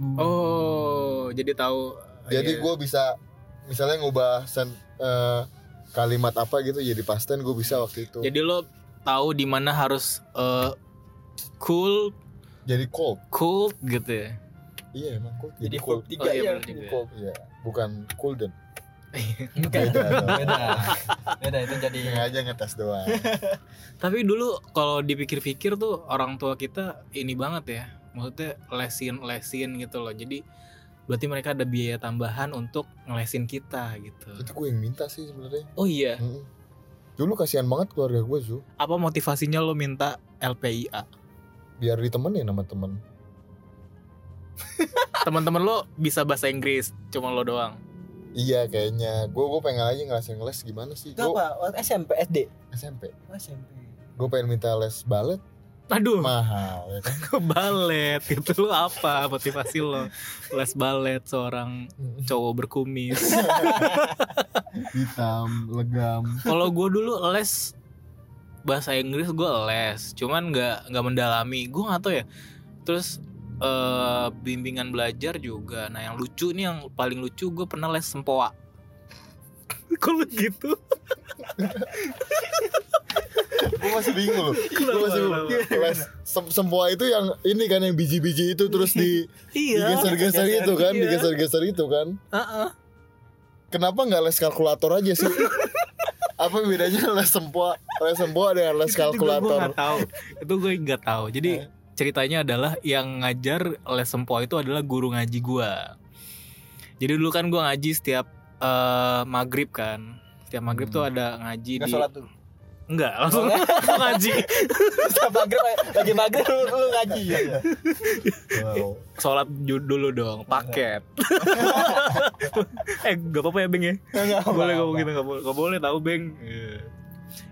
Hmm. oh jadi tahu
Jadi
Iya.
gue bisa misalnya ngubah sen- eh, kalimat apa gitu jadi past tense gue bisa waktu itu. Jadi,
jadi lo tahu di mana harus eh, cool
cold.
cool gitu ya
Iya emang cold.
jadi
cold.
verb tiga
Oh, iya,
ya
bener juga.
Verb.
Iya, bukan coolden.
Iya.
Bukan.
Beda. dong.
beda beda itu jadi
Sengaja ngetes doang.
Tapi dulu kalau dipikir-pikir tuh orang tua kita ini banget ya. Maksudnya lesin-lesin gitu loh. Jadi berarti mereka ada biaya tambahan untuk ngelesin kita gitu.
itu gue yang minta sih sebenarnya.
Oh iya,
Mm-mm. Dulu kasihan banget keluarga gue Zu
apa motivasinya lo minta LPIA?
biar ditemenin sama temen
Teman-teman lo bisa bahasa Inggris, cuma lo doang.
Iya kayaknya Gue gue pengen aja ngerasain les gimana
itu
sih Gue
apa Oh, Waktu SMP SD
SMP
Oh, SMP
Gue pengen minta les balet
Aduh,
Mahal ya kan
ke balet itu lo apa motivasi lo? Les balet seorang cowok berkumis.
Hitam Legam
kalau gue dulu les bahasa Inggris gue les cuman nggak nggak mendalami gue nggak tahu ya terus eh, bimbingan belajar juga nah yang lucu nih yang paling lucu gue pernah les sempoa kalau gitu
Gue masih bingung loh Gue masih bingung Kelas sem- sempoa itu yang ini kan yang biji-biji itu terus di
Iya.
digeser-geser itu kan
Iya.
digeser-geser itu kan
Heeh.
kenapa nggak les kalkulator aja sih apa bedanya les sempoa les sempoa dengan les
Itu gue
kalkulator
nggak tahu. Itu gue nggak tahu. Jadi ceritanya adalah yang ngajar les sempoa itu adalah guru ngaji gua. Jadi dulu kan gua ngaji setiap eh, maghrib kan. Setiap maghrib
Hmm.
tuh ada ngaji
Nggak
di
sholat tuh
Enggak, langsung langsung ngaji.
Setelah maghrib Lagi maghrib lu, lu ngaji ya
iya.
Wow.
Sholat ju- dulu dong, paket. Iya. eh, gak apa-apa ya, Beng ya. boleh ngomong gitu nggak boleh nggak boleh tahu beng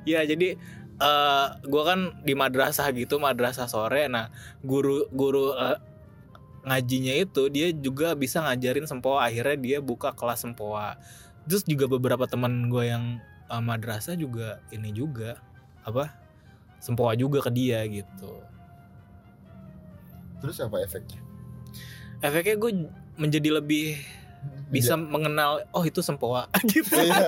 ya jadi eh gue kan di madrasah gitu madrasah sore nah guru guru eh, ngajinya itu dia juga bisa ngajarin sempoa akhirnya dia buka kelas sempoa terus juga beberapa teman gue yang eh, madrasah juga ini juga apa sempoa juga ke dia gitu
terus apa efeknya
efeknya gue menjadi lebih bisa mengenal oh itu sempoa gitu
Iya.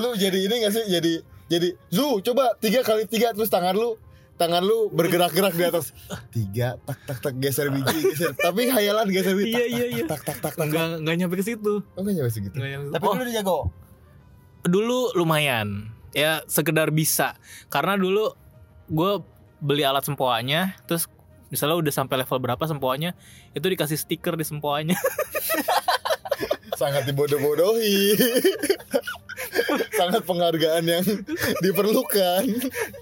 lu jadi ini gak sih jadi jadi Zu coba tiga kali tiga terus tangan lu tangan lu bergerak-gerak di atas tiga tak tak tak geser biji geser tapi khayalan geser biji
Iya, iya, iya.
tak tak tak tak tak
nggak nggak nyampe ke situ
oh nggak nyampe segitu
Nggak nyampe-
Tapi
Oh,
dulu dia jago
dulu lumayan ya sekedar bisa karena dulu gue beli alat sempoanya terus misalnya udah sampai level berapa sempoanya itu dikasih stiker di sempoanya
sangat dibodoh-bodohi sangat penghargaan yang diperlukan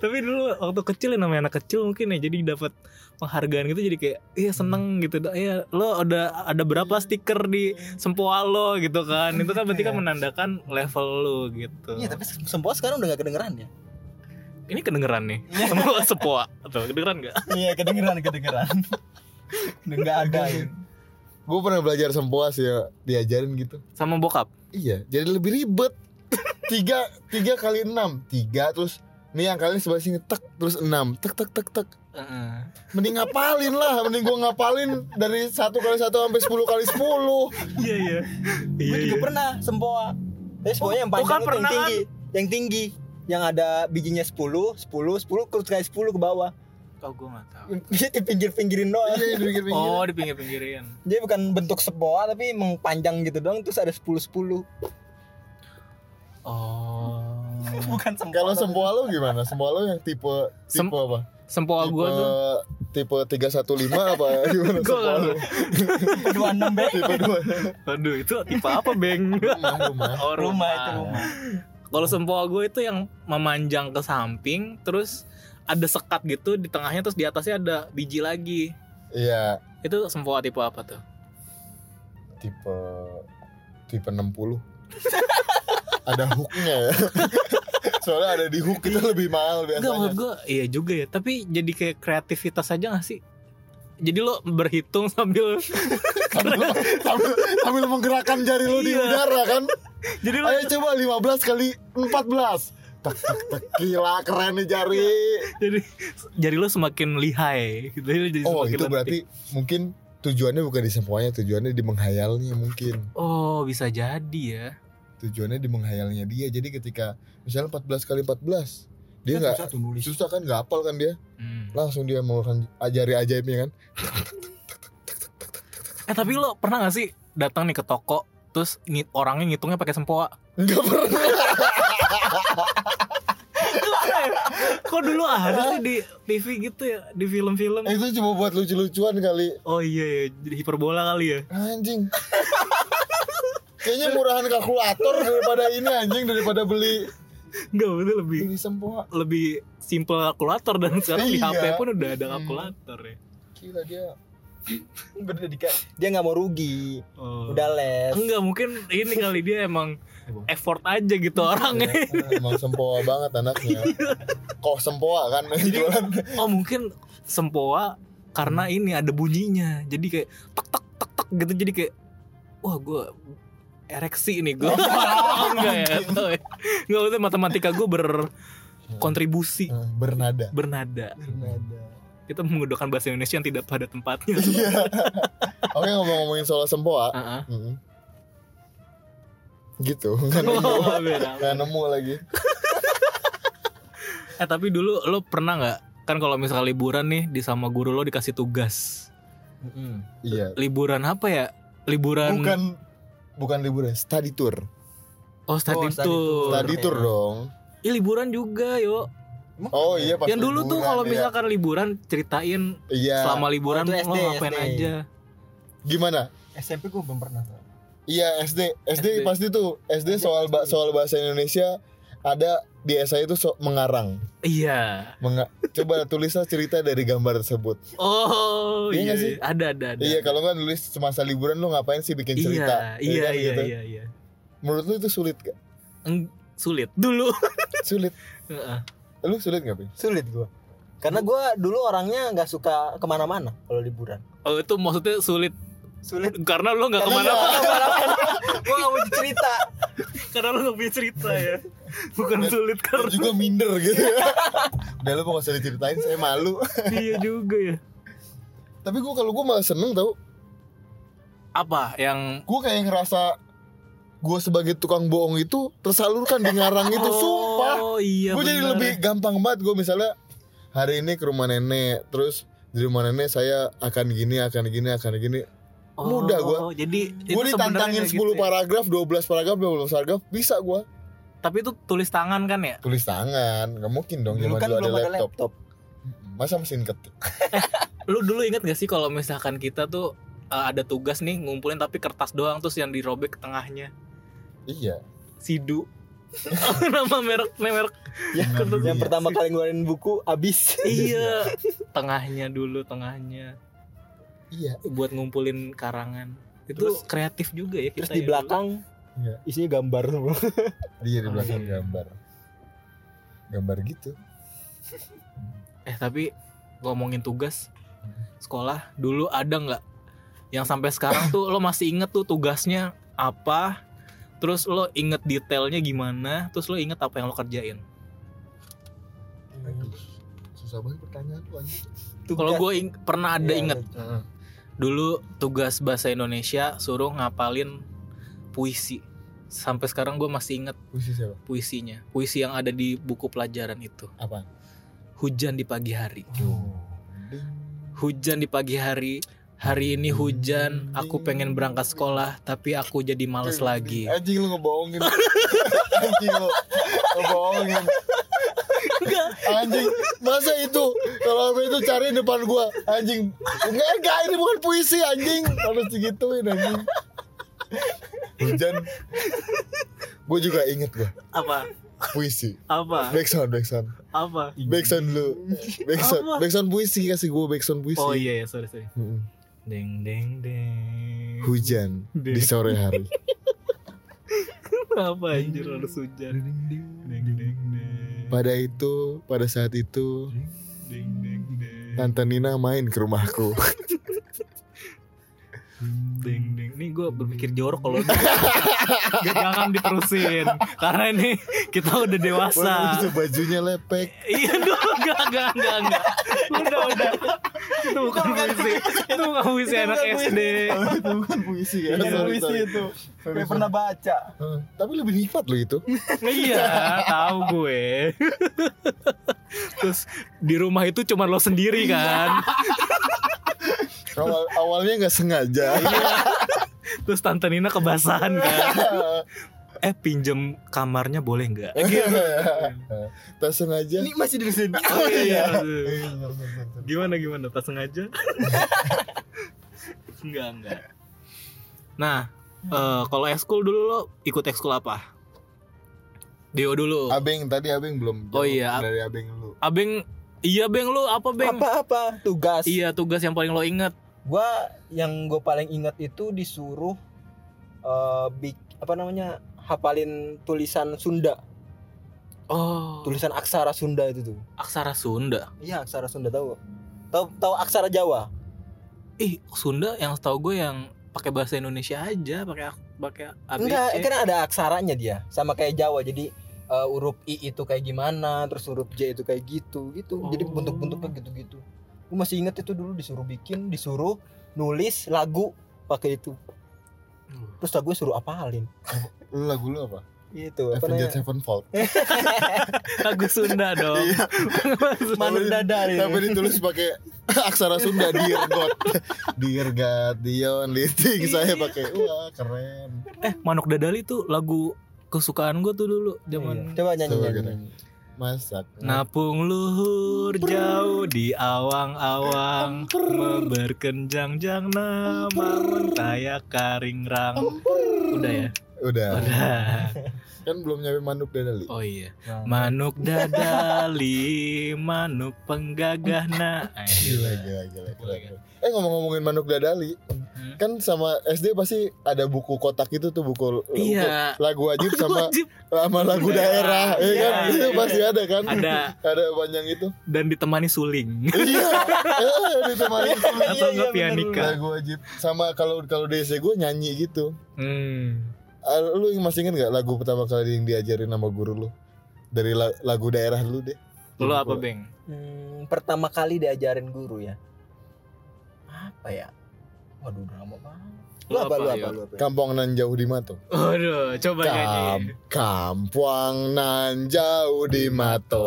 tapi dulu waktu kecil ya namanya anak kecil mungkin ya jadi dapat penghargaan gitu jadi kayak iya seneng gitu iya lo udah ada berapa stiker di sempoa lo gitu kan itu kan berarti kan menandakan level lo gitu
Iya tapi sempoa sekarang udah gak kedengeran ya
ini kedengeran nih sempoa sempoa atau kedengeran nggak
Iya kedengeran kedengeran Udah gak ada ya
gue pernah belajar sempoa sih ya, diajarin gitu
sama bokap
Iya, jadi lebih ribet. tiga tiga kali enam tiga terus nih yang kalian sebelah sini tek terus enam tek tek tek tek mending ngapalin lah mending gua ngapalin dari satu kali satu sampai sepuluh kali sepuluh
iya iya
Gue juga pernah sempoa Tapi sempoanya yang panjang
bukan
itu yang
pernah kan?
tinggi Yang tinggi Yang ada bijinya 10 10 10 terus kali 10 ke bawah
Oh gue gak tau
Dia di pinggir-pinggirin doang
iya di pinggir pinggir
Oh di pinggir-pinggirin
Jadi bukan bentuk sempoa tapi emang panjang gitu doang terus ada 10 10
Oh
Bukan sempoa
kalau sempoa lo gimana sempoa lo yang tipe tipe
Sem-
apa
Sempoa
tipe
gue tuh
tipe tiga satu lima apa gimana
Gua
sempoa
nggak
lo
Tipe 26 be
tipe dua Iya,
Aduh itu tipe apa Beng?
rumah rumah
Oh,
Rumah itu rumah
Kalau sempoa gue itu yang memanjang ke samping Terus ada sekat gitu di tengahnya terus di atasnya ada biji lagi
iya
Itu sempoa tipe apa tuh?
tipe tipe 60 ada hooknya ya soalnya ada di hook itu lebih mahal
Enggak maksud
biasanya
gue iya juga ya Tapi jadi kayak kreativitas aja gak sih? Jadi lo berhitung sambil
sambil, sambil, sambil menggerakkan jari lu di
Iya.
udara kan
Jadi lo
ayo coba 15 kali 14 tak tak tak gila keren nih jari
jadi jari lo semakin lihai gitu. Jadi lo jadi
oh
semakin
itu
lentik.
berarti mungkin tujuannya bukan di sempoanya tujuannya di menghayalnya mungkin
Oh bisa jadi ya
tujuannya di menghayalnya dia jadi ketika misalnya 14 kali 14 dia nggak
satu nulis
susah kan nggak hafal kan dia
Hmm.
langsung dia menggunakan jari ajaibnya kan
Eh tapi lo pernah gak sih datang nih ke toko terus ngi- orangnya ngitungnya pakai sempoa?
Enggak pernah.
Kok dulu ada sih di TV gitu ya di film-film?
Itu cuma buat lucu-lucuan kali.
Oh iya ya jadi hiperbola kali ya.
Anjing. Kayaknya murahan kalkulator daripada ini anjing daripada beli
Enggak bener lebih
beli sempoa.
lebih simple kalkulator dan sekarang di
Iya.
HP pun udah ada kalkulator ya.
Gila dia.
Berdedikat Dia gak mau rugi
Oh.
Udah les
Enggak mungkin ini kali dia emang effort aja gitu
Iya.
orangnya.
Emang sempoa banget anaknya. Kok sempoa kan jualan.
Oh mungkin sempoa karena ini ada bunyinya. Jadi kayak tek tek tek tek gitu jadi kayak wah gue ereksi nih gue. Enggak Hmm. ya. tau ya. Enggak maksudnya matematika gue berkontribusi
Eh, Bernada.
bernada.
Bernada.
Kita menggunakan bahasa Indonesia yang tidak pada tempatnya.
Iya. Oke ngomong-ngomongin soal sempoa.
Heeh.
Mm-mm. Gitu. Nggak nemu-
Iya, Oh, beda.
nggak nemu lagi.
Eh tapi dulu lo pernah nggak kan kalau misalnya liburan nih di sama guru lo dikasih tugas.
Mm-mm.
Iya.
Liburan apa ya? Liburan
Bukan bukan liburan, study tour.
oh
Oh,
study tour.
study tour.
Study tour
Iya.
dong.
Ih, liburan juga yo.
Emang
Oh
ada?
iya pas
Yang dulu tuh
liburan,
kalau
iya.
misalkan liburan ceritain
iya.
selama liburan
Oh, itu
lo
SD,
ngapain
SD.
aja.
gimana?
SMP gue belum pernah tuh.
Iya SD, SD,
SD.
pasti tuh SD soal ba- soal bahasa Indonesia ada di esai itu so- mengarang.
Iya.
Menga- Coba tulislah cerita dari gambar tersebut.
Oh
Iya
iya,
nggak sih?
iya. ada ada ada.
Iya kalau nggak nulis semasa liburan lu ngapain sih bikin
Iya,
cerita? Ya
iya,
kan,
iya,
gitu.
iya, iya.
Menurut lu itu sulit gak?
Eng- sulit dulu.
Sulit.
Heeh.
Lu sulit gak? Pi?
Sulit gue. Karena gue dulu orangnya nggak suka kemana-mana kalau liburan.
oh itu maksudnya sulit
Sulit.
karena lo nggak
Karena
kemana
gua nggak kemana-mana. Gue nggak mau cerita.
karena lo nggak punya cerita ya. Bukan sulit
Lu
karena
juga minder gitu. Udah lu mau usah diceritain saya malu.
iya juga ya.
Tapi gua kalau gua malah seneng tau.
Apa yang
Gua kayak ngerasa gua sebagai tukang bohong itu tersalurkan di ngarang itu. Sumpah.
Oh iya.
gue jadi
benar.
lebih gampang banget gue misalnya hari ini ke rumah nenek terus di rumah nenek saya akan gini akan gini akan gini mudah gua.
Oh, Jadi
gue
itu
ditantangin
sebenarnya
10
gitu ya.
paragraf 12 paragraf 12 paragraf bisa gue
Tapi itu tulis tangan kan ya?
tulis tangan nggak mungkin dong
Dulu
zaman
kan
dulu ada
belum ada
laptop.
laptop.
masa mesin ketik
Lu dulu inget gak sih kalau misalkan kita tuh uh, ada tugas nih ngumpulin tapi kertas doang terus yang dirobek ke tengahnya
iya
sidu. Nama merek merek
Ya,
Benar juga
yang
ya.
pertama kali ngeluarin buku abis.
iya tengahnya dulu tengahnya
iya
buat ngumpulin karangan itu
Terus-
kreatif juga ya kita
Terus di
ya
belakang
Iya.
isinya gambar semua.
dia di belakang
Iya.
gambar gambar gitu
dulu. eh tapi ngomongin tugas sekolah dulu ada nggak yang sampai sekarang tuh lo masih inget tuh tugasnya apa terus lo inget detailnya gimana terus lo inget apa yang lo kerjain
Aduh, susah banget pertanyaan lu anjing.
kalau gue ing- pernah ada
Iya,
inget dulu tugas bahasa Indonesia suruh ngapalin puisi sampai sekarang gue masih inget
puisi siapa
puisinya puisi yang ada di buku pelajaran itu
apa
hujan di pagi hari
Tuh.
Hujan di pagi hari Hari ini hujan Aku pengen berangkat sekolah Tapi aku jadi males lagi
Anjing lu ngebohongin. Anjing lu ngebohongin. Anjing, masa itu? Kalau apa itu cari depan gua. Anjing, enggak enggak ini bukan puisi anjing. Harus digituin anjing. Hujan. Gua juga inget gua,
Apa?
puisi.
Apa?
Backsound, backsound.
Apa?
Backsound lu. Backsound,
Apa?
backsound puisi kasih gua backsound puisi.
Oh iya ya sorry sorry
Mm-mm.
Deng deng deng
Hujan di sore hari.
Apa anjir harus hujan Deng deng deng
Pada itu, pada saat itu,
Deng deng deng
Tante Nina main ke rumahku.
Deng deng Ini gue berpikir jorok kalau Jangan diterusin Karena ini kita udah dewasa
Wah, itu bajunya lepek.
Iya dulu enggak enggak enggak enggak. Udah udah. Itu bukan puisi. Itu bukan puisi
Itu
anak
bukan puisi.
SD.
Oh, itu bukan puisi ya.
Iya,
Sorry,
puisi
sorry.
itu.
Sorry,
Gue
sorry.
pernah baca.
Heeh. Tapi lebih nikmat loh itu.
Iya, tahu gue. Terus di rumah itu cuma lo sendiri kan.
Awal, awalnya nggak sengaja.
Terus tante Nina kebasahan kan.
Iya.
Eh pinjem kamarnya boleh nggak?
Iya.
Iya.
tak sengaja.
Ini masih di sini.
Oh iya.
Eh, bentar, bentar, bentar.
Gimana gimana? Tak sengaja? enggak enggak. Nah, eh, kalau ekskul dulu lo ikut ekskul apa? Dio dulu.
Abeng tadi Abeng belum.
Oh, iya.
Dari Abeng dulu.
Abeng, iya Beng lu apa Beng?
Apa-apa tugas.
Iya tugas yang paling lo inget
Gua yang gue paling ingat itu disuruh eh bik apa namanya hafalin tulisan Sunda,
Oh
tulisan aksara Sunda itu tuh.
Aksara Sunda
Iya aksara Sunda tahu. Tahu tahu aksara Jawa.
Ih Sunda yang setahu gue yang pakai bahasa Indonesia aja pakai ak- pakai ABC
Enggak, kan ada aksaranya dia, sama kayak Jawa. Jadi eh, huruf i itu kayak gimana, terus huruf j itu kayak gitu, gitu. Jadi
Oh.
bentuk-bentuknya gitu-gitu. Gue masih inget itu dulu disuruh bikin, disuruh nulis
Hmm.
lagu pakai itu. Terus lagu suruh apalin.
Lu lagu lu apa?
Itu apa
Avenged
namanya?
Sevenfold
Lagu Sunda dong.
Iya.
Manun dada ini.
Tapi ditulis pakai aksara Sunda Dear God. Dear God, Dion Liting saya
Iya.
pakai. Wah, keren.
eh, Manuk Dadali tuh lagu kesukaan gue tuh dulu
Iya.
zaman
Coba nyanyi
Coba
nyanyi. Nah.
kita. gitu. Masak.
Napung luhur jauh di awang-awang Berkenjang jang namun tayak karing rang Udah ya?
Udah.
Udah
Kan belum nyampe manduk dadali.
Oh iya
Nah,
Manuk dadali Manuk penggagah na
Gila,
iya.
gila, gila, gila, gila. Eh ngomong-ngomongin manduk dadali,
Hmm.
kan sama SD pasti ada buku kotak itu tuh buku
Iya
buku lagu wajib sama
Wajib.
sama lagu daerah,
Iya,
ya kan?
iya,
itu
iya.
pasti ada kan?
Ada
Ada panjang itu.
dan ditemani suling
Iya. Eh, ditemani sama
Atau
iya,
enggak
bener,
pianika
lagu wajib sama kalau kalau di SD gue nyanyi gitu.
Hmm
Ah, lu masih inget gak lagu pertama kali yang diajarin sama guru lu dari la- lagu daerah lu deh
Lo apa Beng?
hmm, pertama kali diajarin guru ya. Apa ya? Waduh, udah lama banget. Lu apa lu apa
Yo?
lu apa?
kampung nan jauh di mato
Waduh, coba nyanyi
Kam, kampung nan jauh di mato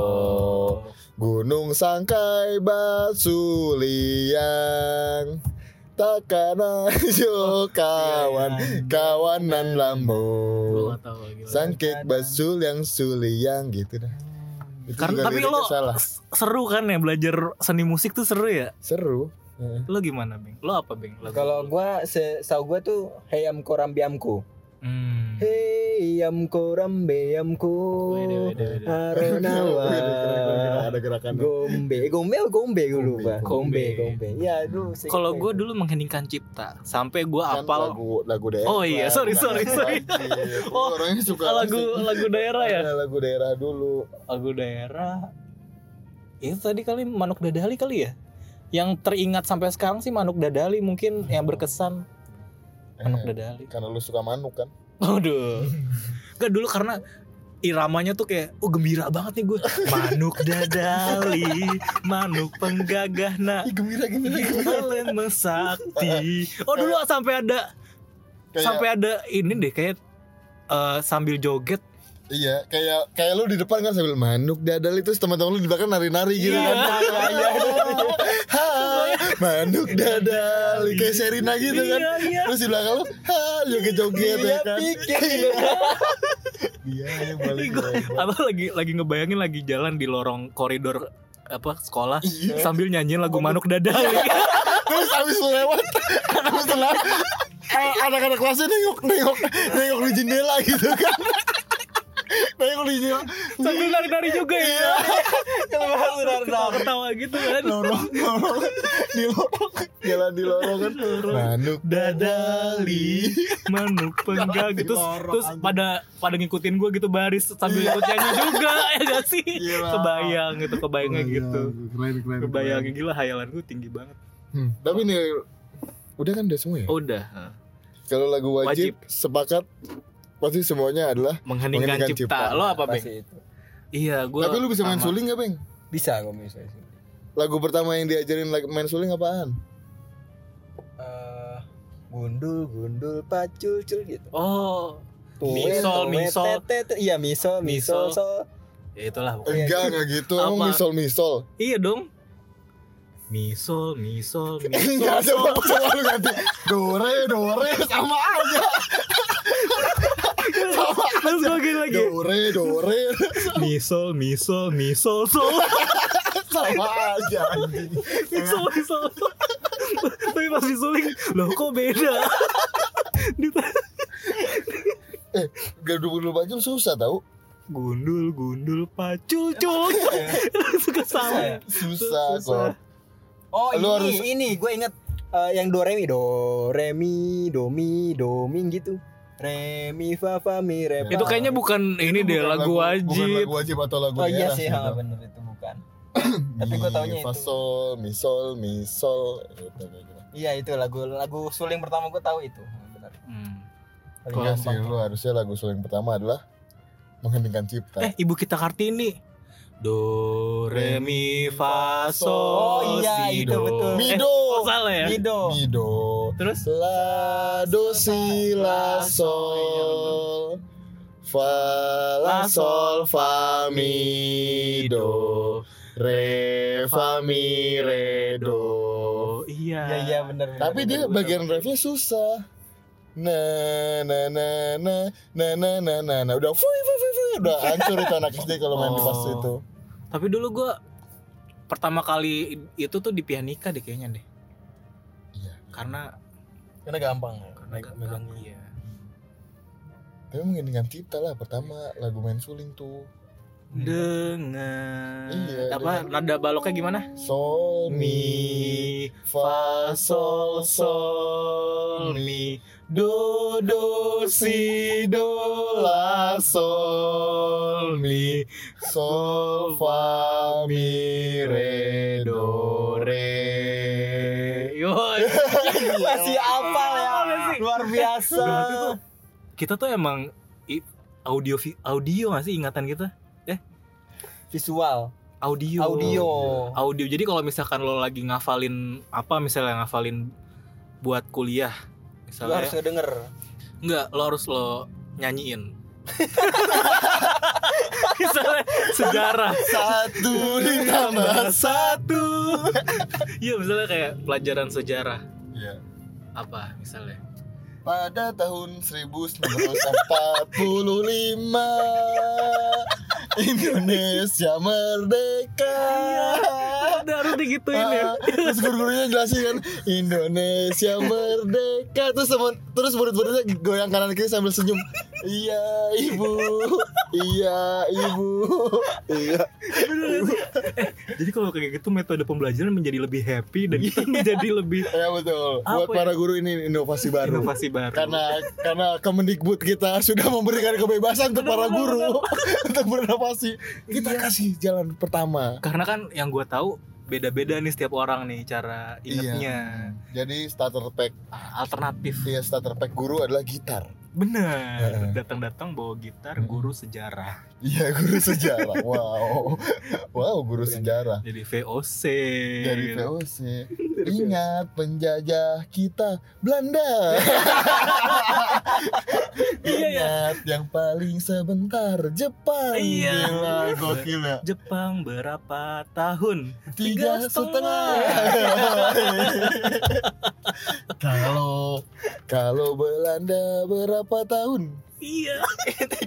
gunung sangkai batu liang takana jo kawan
Oh, iya,
kawanan
Gua
lambo
nggak tahu lagi.
sangkik basul yang suliang gitu dah Itu
Karena
juga
tapi
liriknya
lo
salah
s- seru kan ya belajar seni musik tuh seru ya.
seru Heeh.
Lo gimana, Beng? Lo apa, Beng? Lagu-
Kalau gua se- setahu gua tuh heyam koram biamku.
hmm.
Heyam koram biamku.
Wede, wede, wede.
Aronawa.
ada gerakan
Gombe, gombe, oh, gombe gue lupa.
Gombe.
Gombe, gombe. Ya, dulu. seinget
Kalau
gua
gue
itu.
dulu mengheningkan cipta sampai gue
gitu. Kan
apal
lagu lagu daerah
Oh iya, sorry,
Bukan
sorry,
lagu
sorry.
wajib. Lu
Oh,
orangnya suka
lagu lagu daerah ya.
Ada lagu daerah dulu
Lagu daerah. Ya, Itu tadi kali Manuk Dadali kali ya. Yang teringat sampai sekarang sih Manuk Dadali mungkin yang berkesan Manuk
Eh,
Dadali.
karena lu suka manuk kan
Waduh. Gak dulu karena iramanya tuh kayak oh gembira banget nih gue. Manuk dadali, manuk penggagah nak.
Ih, gembira gembira
mesakti. Oh dulu sampai ada
kayak,
sampai ada ini deh kayak eh, sambil joget.
iya kayak kayak lu di depan kan sambil manuk dadal itu teman-teman lu di belakang nari-nari gitu
Iya.
kan Hai, manuk dadal kayak Serina gitu kan
Iya, iya.
terus di belakang lu ha joget-joget ya kan iya yang
Ih,
balik
gua- apa lagi lagi ngebayangin lagi jalan di lorong koridor apa sekolah
Iya.
sambil nyanyiin lagu manuk dadali.
Terus abis lu lewat Abis lu lewat eh, Anak-anak kelasnya nengok Nengok Nengok di jendela gitu kan Nengok di jendela Iya.
sambil nari-nari juga ya.
Kalau
Ketawa gitu kan.
Lorong Lorong Di lorong Jalan di lorong kan Manuk
dadali manuk penggag terus
lorong,
terus
anjing.
pada pada ngikutin gue gitu baris sambil ikut nyanyi juga ya gak sih
Gila.
kebayang gitu kebayangnya gitu
Iya, Keren keren
kebayangnya gila hayalan gue tinggi banget
Hmm, Tapi nih Udah kan udah semua ya
udah
Kalau lagu wajib,
Oh. Wajib.
Sepakat Pasti semuanya adalah
mengheningkan
Mengheningkan
cipta
cipta.
lo apa beng
Pasti itu.
iya gue
Tapi lu bisa main suling gak Beng?
Bisa gua bisa. bisa.
Lagu pertama yang diajarin lag- main suling apaan?
Eh, gundul, gundul, pacul, cul gitu.
oh
Tuwel,
Misol,
tuwel,
misol.
tet, tet. Iya, misol,
Misol.
misol, sol.
ya itulah pokoknya.
Enggak, enggak gitu Emang
Apa?
misol-misol
iya dong misol misol
Enggak
misol
coba coba lu ganti Dore Dore sama aja
terus gue gini lagi
Dore Dore
misol misol misol sol
sama aja anjing.
Misal misal Tapi pas disuling Loh kok beda Dita-
Gaduh dulu baju susah tau
Gundul gundul pacul cul Suka salah
Susah
Susah.
kok
Oh,
Lu
ini,
harus-
ini gue inget Eh, yang do re mi do re mi do mi do mi gitu. Re mi fa fa mi re.
Itu
fa.
kayaknya bukan ini deh
Bukan
lagu
Bukan
wajib
lagu wajib atau lagu
Oh iya
daerah
sih,
gitu.
ha, bener itu bukan. tapi gua taunya
Mi,
itu.
fa, sol, Mi sol misol misol
Iya itu lagu lagu suling pertama gue tahu itu. Benar.
Hmm.
Paling
Enggak Iya sih
gampang.
lu harusnya lagu suling pertama adalah Mengheningkan cipta
Eh ibu kita Kartini Do re mi fa sol
Oh, iya,
si
itu
do.
betul.
Eh,
Mido.
oh,
kok salah
Iya.
ya
Mido.
Mi do
Terus
La do si la sol Fa la sol fa mi do re fa mi re do.
Iya.
Iya iya benar.
Nah. Tapi dia bagian refnya susah. Na na na na na na na na na udah fui fui fui fui udah hancur itu anak SD kalau main di pas
Oh.
itu.
Tapi dulu gua pertama kali itu tuh di pianika deh kayaknya deh.
Iya.
Karena
karena gampang.
karena gak- gak- iya.
Tapi menggendingan cipta lah pertama lagu main suling tuh.
Dengan
Iya,
apa
dengan-
nada baloknya gimana?
Sol mi
Mi
fa
sol sol mi do do si do la sol mi
sol fa mi re do re.
yo
Masih apal ya. Luar biasa.
Berarti tuh- kita tuh emang i- audio vi- audio nggak sih ingatan kita
Visual,
audio
audio.
Iya.
audio jadi kalau misalkan lo lagi ngafalin apa misalnya ngafalin buat kuliah
Lu harus
misalnya
denger.
enggak lo harus lo nyanyiin misalnya sejarah
Satu ditambah
satu iya misalnya kayak pelajaran sejarah
Iya.
apa misalnya
Pada tahun 1945 Indonesia merdeka.
ada harus digituin ya
Ah, terus guru-gurunya jelasin kan Indonesia merdeka terus teman terus murid-muridnya goyang kanan kiri sambil senyum iya ibu iya ibu iya
Bener gak sih? Eh, jadi kalau kayak gitu metode pembelajaran menjadi lebih happy dan
Iya.
kita menjadi lebih
ya betul buat
Apa ya?
para guru ini inovasi baru
inovasi baru
karena karena Kemendikbud kita sudah memberikan kebebasan untuk para guru untuk berinovasi kita
Iya.
kasih jalan pertama
karena kan yang gue tahu beda-beda nih setiap orang nih cara
Iya.
ingetnya
jadi starter pack
alternatif
ya starter pack guru adalah gitar
bener
Heeh. Hmm.
datang-datang bawa gitar
Heeh.
guru sejarah
iya guru sejarah wow wow guru sejarah
jadi VOC
dari VOC ingat penjajah kita Belanda
Iya, ya.
ingat yang paling sebentar Jepang
Iya.
gila gokil ya
Jepang berapa tahun
tiga
Tiga
setengah. Kalau kalau Belanda berapa tahun?
iya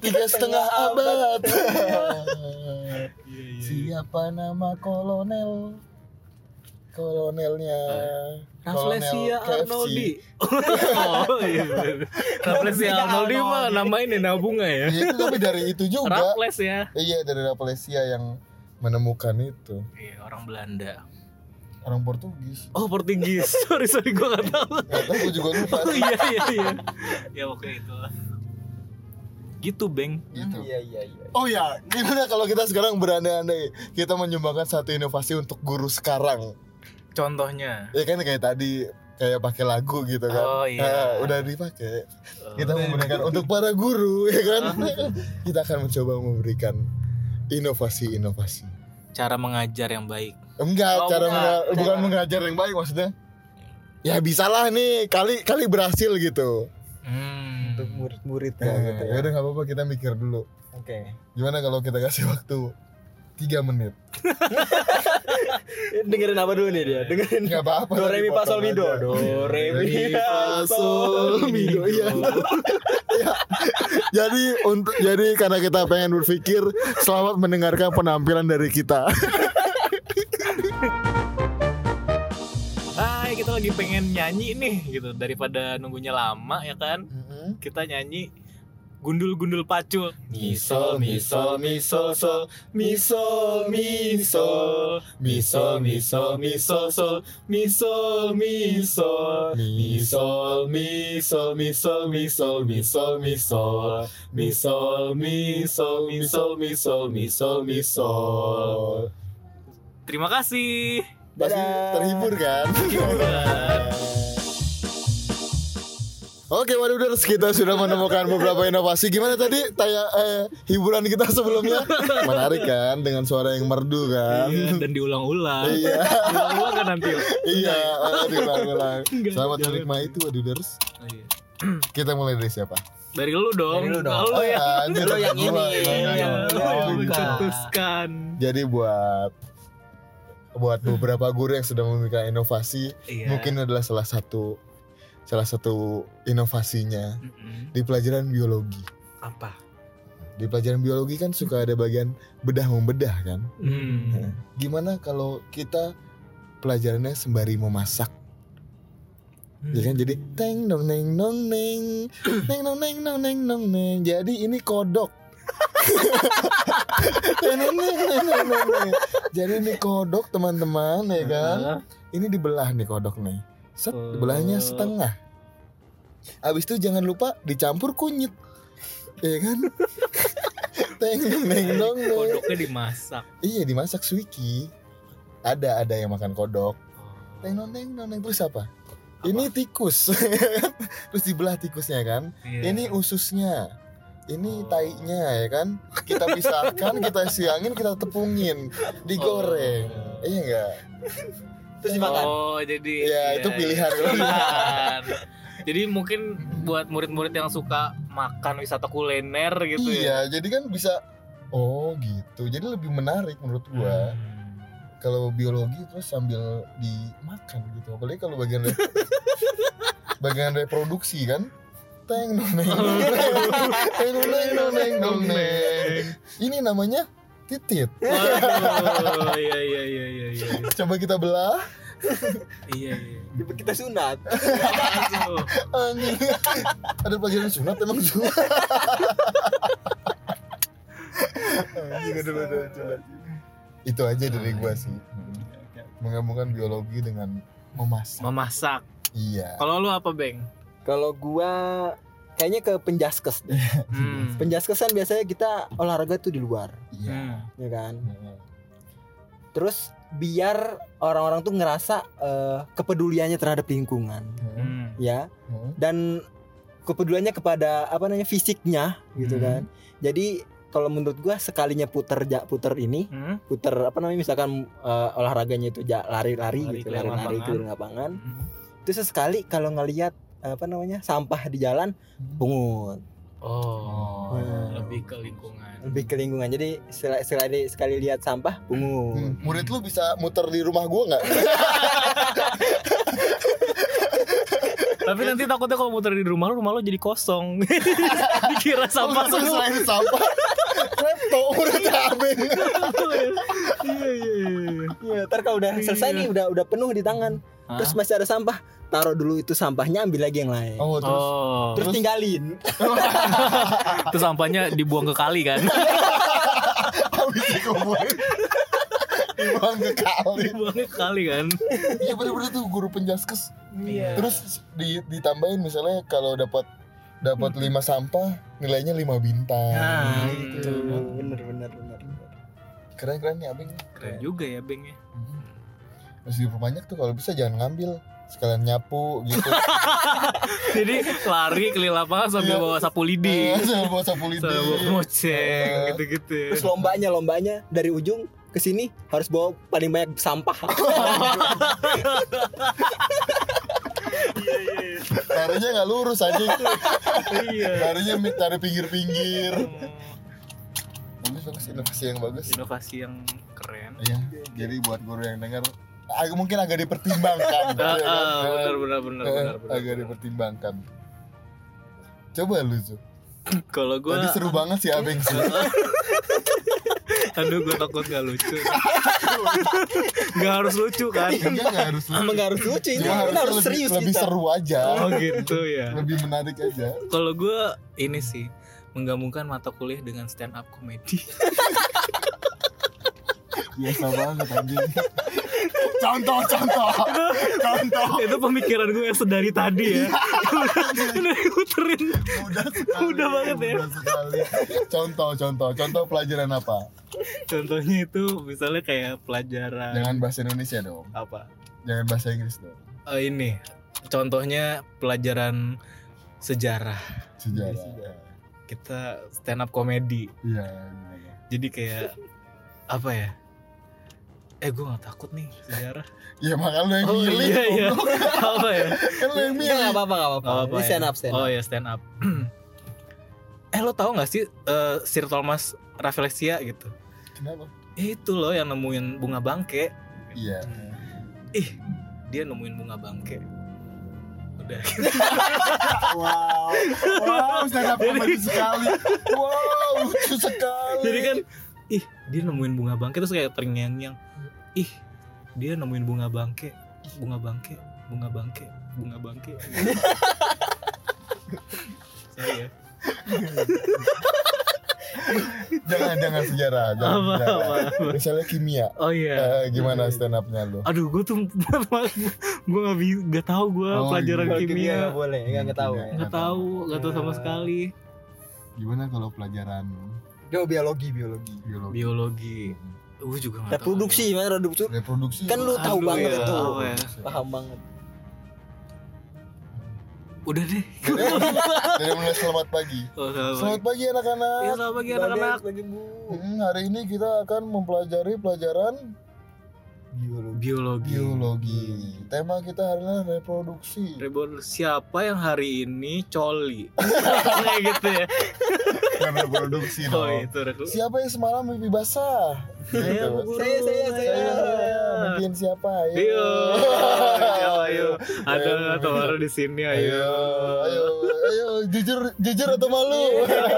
Tiga setengah abad.
Iya, iya, iya.
Siapa nama kolonel? Kolonelnya
Rafflesia
Kolonel KFC.
Eh, Arnoldi oh iya bener. Rafflesia Arnoldi mah nama ini nabunga ya
Iya, itu tapi dari itu juga.
Raffles ya
Iya dari Rafflesia yang menemukan itu
Iya, orang Belanda.
orang Portugis.
Oh, Portugis. sorry, sorry, gue gak tahu.
Gak tahu gue juga lupa.
Oh, iya, iya, iya. ya, pokoknya itu lah. Gitu, Beng.
Gitu.
Iya iya iya.
Oh ya, gimana kalau kita sekarang berandai-andai kita menyumbangkan satu inovasi untuk guru sekarang?
Contohnya.
Ya kan kayak tadi kayak pakai lagu gitu kan.
Oh, iya.
Nah, udah dipakai. Kita
eh,
memberikan untuk para guru ya kan. kita akan mencoba memberikan inovasi-inovasi.
cara mengajar yang baik.
Enggak,
Oh,
cara
bukan.
menga-
Cara-
bukan mengajar yang baik maksudnya. Ya bisalah nih kali kali berhasil gitu.
Hmm.
Untuk murid-murid ya,
Nah,
gitu ya.
ya udah nggak apa-apa kita mikir dulu.
Oke.
Gimana kalau kita kasih waktu 3 menit?
Eh, Dengerin apa dulu nih dia? Dengerin
Enggak apa-apa.
Do re mi fa sol mi do.
dipotong aja.
Do re mi
fa,
fa sol mi do.
iya. Iya. jadi untuk jadi karena kita pengen berpikir selamat mendengarkan penampilan dari kita.
Hai, kita lagi pengen nyanyi nih gitu daripada nunggunya lama ya kan. Kita nyanyi gundul-gundul pacul.
Misol, misol, misol, sol, misol, misol. Misol, misol, misol,
sol, misol, misol.
Misol, misol, misol, misol, misol, misol.
Misol,
misol, misol,
misol,
misol, misol.
Terima kasih.
Pasti
Dadah.
terhibur kan? Oke, Waruders, kita sudah menemukan beberapa inovasi. Gimana tadi taya, eh, hiburan kita sebelumnya? Menarik kan, dengan suara yang merdu kan?
Iya, dan diulang-ulang.
Iya,
diulang-ulang kan nanti.
iya, eh, diulang-ulang.
Enggak,
Selamat
jangan.
menikmati Waruders.
Oh, iya.
Kita mulai dari siapa? Ah,
Dari lu dong.
Dari lu dong.
Kalau
Oh,
ya.
Anjir,
Oh, iya.
Nah,
Lo yang ini,
gua-
Iya,
lo yang
Iya,
Lu
lo
yang
yang buka.
mencetuskan.
Jadi buat buat beberapa guru yang sedang memikirkan inovasi,
Iya.
mungkin adalah salah satu salah satu inovasinya
Mm-mm.
di pelajaran biologi.
apa?
Di pelajaran biologi kan suka ada bagian bedah membedah kan.
Hmm.
Gimana kalau kita pelajarannya sembari memasak? Ya kan jadi teng dong neng nong neng neng nong neng nong neng nong neng. Jadi ini kodok. Teng, neng, neng, neng, neng, neng, neng. Jadi ini kodok teman-teman ya kan. Ini dibelah nih kodok nih. Set
Oh.
belahnya setengah. Abis itu jangan lupa dicampur kunyit. Ya kan? teng dong neng nong neng.
Kodoknya dimasak.
Iya dimasak suiki. Ada ada yang makan kodok. Neng
Oh,
nong neng nong neng terus
apa?
apa? Ini tikus. terus dibelah tikusnya kan.
Iya.
Ini ususnya.
Oh.
Ini tainya ya kan. Kita pisahkan, kita siangin, kita tepungin, digoreng.
Oh.
Iya enggak?
Terus dimakan.
Oh, jadi
kan? Iya, itu pilihan.
pilihan. jadi mungkin buat murid-murid yang suka makan wisata kuliner gitu
iya,
ya.
jadi kan bisa oh gitu. Jadi lebih menarik menurut gua
Hmm.
kalau biologi terus sambil dimakan gitu. Apalagi kalau bagian re- bagian reproduksi kan. Teng dong neng. Oh. Teng dong neng dong neng dong neng. Ini namanya titit.
Waduh, iya iya iya iya iya.
Coba kita belah
Iya iya.
Oh.
Kita sunat.
Aduh.
Anjing. Ada pelajaran sunat emang sunat. Anjing ada pelajaran sunat. Itu aja dari gua sih. Menggabungkan biologi dengan memasak.
Memasak.
Iya.
Kalau lu apa, Beng?
Kalau gua kayaknya ke penjaskes deh.
Hmm.
Penjaskesan biasanya kita olahraga tuh di luar,
Iya.
Hmm.
ya kan? Terus biar orang-orang tuh ngerasa eh, kepeduliannya terhadap lingkungan,
Hmm.
ya. Dan kepeduliannya kepada apa namanya fisiknya gitu
Hmm.
kan. Jadi kalau menurut gua sekalinya puter ja, puter ini,
Hmm.
puter apa namanya misalkan eh, olahraganya itu ja- lari-lari
Lari
gitu,
keliling
lari-lari
lapangan.
ke lapangan. Itu sesekali kalau ngelihat apa namanya sampah di jalan
Hmm.
pungut.
Oh,
Hmm.
lebih ke lingkungan.
lebih ke lingkungan jadi sekali sekali, sekali lihat sampah
Hmm,
bungu
Murid lu bisa muter di rumah gua nggak?
Tapi nanti takutnya kalau muter di rumah lu, rumah lu jadi kosong. Dikira sampah
Muter
semua.
selain sampah. Repto murid abeng.
Iya iya iya.
Iya, ntar kalau udah selesai
Iya.
nih udah udah penuh di tangan
Hah?
terus masih ada sampah taruh dulu itu sampahnya ambil lagi yang lain
Oh, terus
Oh,
terus,
terus-
tinggalin
terus sampahnya dibuang ke kali kan?
habis dikumpulin. Dibuang ke kali.
dibuang ke kali kan?
Iya bener-bener tuh guru penjaskes
Iya.
Terus di- ditambahin misalnya kalau dapat dapat lima sampah nilainya lima bintang.
nah
Hmm.
itu bener bener bener
Keren keren nih abeng.
Keren juga ya Beng ya.
Mhm. Terus diperbanyak tuh kalau bisa jangan ngambil sekalian nyapu gitu.
Jadi lari keliling lapangan sambil
Iya.
bawa sapu lidi,
Eh, Sama bawa sapu lidi.
sambil bawa
Iya.
koceng, gitu-gitu. ya.
terus lombanya lombanya dari ujung ke sini harus bawa paling banyak sampah
Iya iya iya.
Larinya nggak lurus aja.
Iya.
Larinya mi- dari pinggir-pinggir.
Oh,
Bagus bagus inovasi yang bagus.
Inovasi yang keren.
Iya. Jadi buat guru yang dengar ag- mungkin agak
Ah,
dipertimbangkan. Iya kan?
ah, benar benar benar
Eh,
benar benar.
agak dipertimbangkan. Coba lu tuh.
Kalau gue,
Tadi seru banget sih Abeng sih.
aduh gue takut gak lucu. gak harus lucu kan?
Iya nggak harus
emang
lucu.
gak harus lucu ini ini
Cuma Iya, harusnya
harus
lebih,
serius
lebih
kita
seru aja,
Oh gitu ya.
lebih menarik aja.
Kalau gue ini sih menggabungkan mata kuliah dengan stand up comedy.
Biasa banget anjing. Contoh, contoh, contoh.
Itu pemikiran gue yang sedari tadi ya. Udah- Udah diputerin.
Mudah sekali.
Mudah banget ya.
mudah sekali. Contoh, contoh, contoh pelajaran apa?
Contohnya itu misalnya kayak pelajaran
Jangan bahasa Indonesia dong.
apa?
Jangan bahasa Inggris dong.
Eh, ini contohnya pelajaran sejarah. Iya,
Sejarah.
Kita stand up comedy.
Iya. iya, iya.
Jadi kayak apa ya? Eh gue gak takut nih sejarah.
Iya makanya lu yang milih.
iya iya.
goblok.
apa ya?
Kan lu
Enggak,
yang milih.
nggak apa-apa nggak apa-apa
Nggak apa-apa
ini
ya.
stand up stand
Oh
up
ya stand up. lo tahu nggak sih eh, Sir Thomas Rafflesia gitu?
Kenapa?
Itu loh yang nemuin bunga bangke.
Iya.
Ih, dia nemuin bunga bangke. Udah.
Wow. Wow, stand up comedy sekali. Wow, lucu sekali.
Jadi kan, ih, dia nemuin bunga bangke terus kayak terngiang-ngiang. Ih, dia nemuin bunga bangke, bunga bangke, bunga bangke, bunga bangke. Sorry ya.
jangan jangan sejarah, jangan
Apa,
sejarah.
apa, apa.
Misalnya kimia.
Oh iya.
Eh, gimana stand up-nya lu?
Aduh, gue tuh gue nggak bi- nggak tahu gue
Oh,
pelajaran
iya.
kimia. Iya.
nggak boleh nggak nggak tahu ya.
Nggak tahu, nggak tahu sama sekali.
Gimana kalau pelajaran
Dia biologi biologi.
biologi?
Biologi. Gue juga nggak tahu.
Reproduksi gimana reproduksi?
Reproduksi.
Kan lu tahu
Aduh,
iya.
banget
ya,
itu.
tahu ya.
Paham banget.
Udah deh.
Dari mulai selamat pagi.
Oh, selamat
Selamat
pagi.
pagi anak-anak.
Ya, selamat pagi anak-anak.
Bagi bu.
Hmm, hari ini kita akan mempelajari pelajaran
Biologi.
Biologi.
biologi. Tema kita hari ini reproduksi.
Rebel siapa yang hari ini coli? Kayak gitu ya.
Bukan reproduksi
Oh,
dong.
itu Iya, rekrut.
Siapa yang semalam mimpi basah?
Saya,
Gitu.
guru,
Saya, saya,
Saya,
saya.
saya. Mimpiin siapa? Ayo.
Ayo, Iya. ayo, ayo. Ada
Ayo.
nggak teman lu di sini?
Ayo,
Ayo.
ayo, ayo, jujur, jujur atau malu?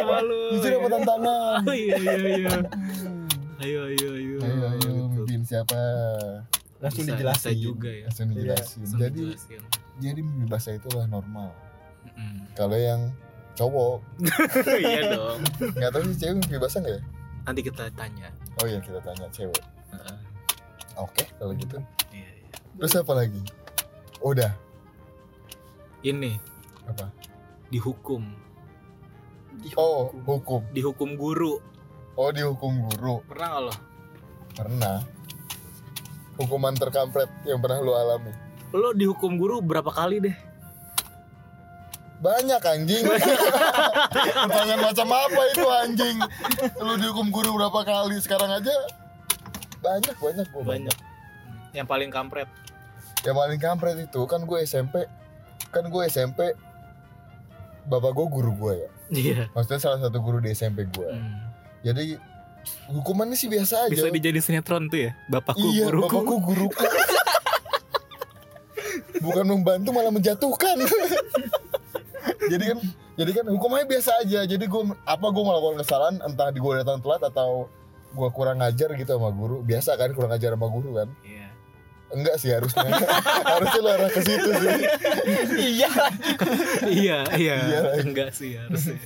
Malu.
jujur apa tantangan?
Oh, Iya, iya, iya. Ayo, ayo, ayo.
Ayo, ayo,
Gitu.
mimpiin siapa?
Langsung
Bisa-
dijelasin.
bisa juga ya.
Langsung dijelasin.
Langsung
Jadi,
dijelasin.
jadi mimpi basah itulah normal.
Mm.
Kalau yang cowok,
Iya dong.
nggak tahu sih cewek mimpi basah nggak ya?
Nanti kita tanya.
Oh iya, kita tanya cewek.
Heeh.
Oke, kalau gitu.
Iya, iya.
Terus apa lagi? Udah,
Ini
apa?
dihukum,
Oh, hukum.
dihukum guru.
Oh, dihukum guru.
Pernah nggak lo?
Pernah. Hukuman terkampret yang pernah lu alami.
Lo dihukum guru berapa kali deh?
Banyak anjing. Pertanyaan macam apa itu anjing? Lu dihukum guru berapa kali sekarang aja? Banyak, banyak gua
Banyak. Hmm. Yang paling kampret.
Yang paling kampret itu kan gue SMP. Kan gue SMP bapak gue guru gue ya.
Iya.
Maksudnya salah satu guru di SMP
Hmm.
gue. Jadi hukumannya sih biasa aja.
Bisa dijadiin sinetron tuh ya. Bapakku
iya,
guruku.
bapakku guruku. Bukan membantu malah menjatuhkan. jadi kan jadi kan hukumannya biasa aja. Jadi gue apa gue melakukan kesalahan entah di gue datang telat atau gue kurang ajar gitu sama guru. Biasa kan kurang ajar sama guru kan?
Iya.
Enggak sih harusnya. harusnya lo arah ke situ sih.
Iya.
iya, iya.
Iya.
Enggak sih harusnya.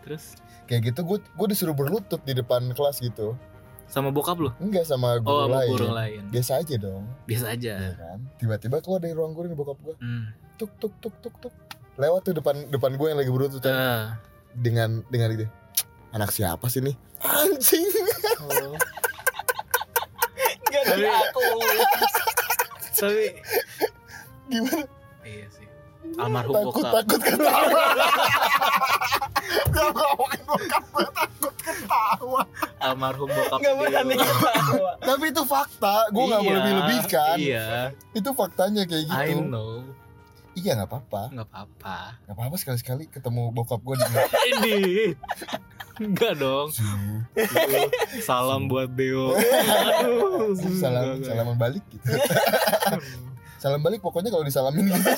Terus
Kayak gitu gue gue disuruh berlutut di depan kelas gitu.
sama bokap lo?
Enggak sama guru
Oh, sama
lain.
guru lain. Eh.
Biasa aja dong.
Biasa aja.
Iya kan? Tiba-tiba keluar dari ruang guru nih bokap gue.
Hmm.
tuk tuk tuk tuk tuk lewat tuh depan depan gue yang lagi berlutut kan.
Eh,
dengan dengan gitu anak siapa sih nih anjing
Oh.
Gak
Tapi-
ada aku.
tapi
gimana
iya sih. Almarhum
takut
bokap.
takut ketawa Gak ngomongin bokap gue takut ketawa
Almarhum bokap.
Gak berani
Dio.
ketawa.
tapi itu fakta gue nggak mau
Iya,
lebih kan? Gitu. lebihkan
Iya.
itu faktanya kayak
I
gitu
know.
iya nggak apa-apa
Enggak apa-apa.
nggak apa-apa sekali sekali ketemu bokap gue di
Ini. Enggak dong.
Su.
Salam buat Deo. Aduh,
salam
enggak,
salaman balik gitu salam balik pokoknya kalau disalamin gitu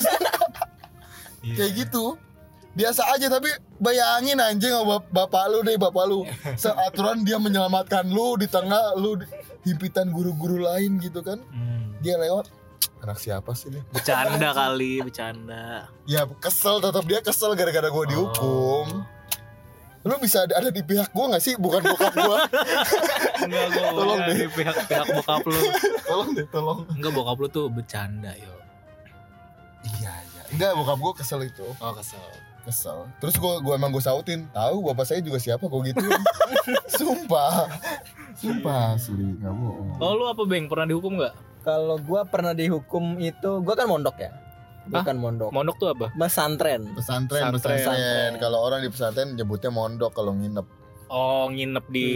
Iya.
kayak gitu biasa aja tapi bayangin anjing sama bap- bapak lu deh bapak lu seaturan dia menyelamatkan lu di tengah lu di- himpitan guru-guru lain gitu kan
Hmm.
dia lewat anak siapa sih nih
Bercanda kali, bercanda.
ya kesel tetap dia kesel gara-gara gua dihukum lu bisa ada, ada di pihak gua nggak sih bukan bokap gua
Enggak gue
Tolong deh.
di pihak pihak bokap lu.
tolong deh tolong
Enggak bokap lu tuh bercanda yo.
iya iya enggak bokap gua kesel itu
Oh kesel.
kesel terus gua gua emang gua sautin tahu bapak saya juga siapa kok gitu sumpah sumpah asli nggak bohong
Oh lu apa Beng? Pernah dihukum nggak?
Kalau gua pernah dihukum itu, gua kan mondok ya. Gua
Hah?
kan
Oh.
mondok.
Mondok tuh apa?
Pesantren.
Pesantren.
pesantren pesantren,
Pesantren.
kalau orang di pesantren nyebutnya mondok kalau nginep
Oh nginep di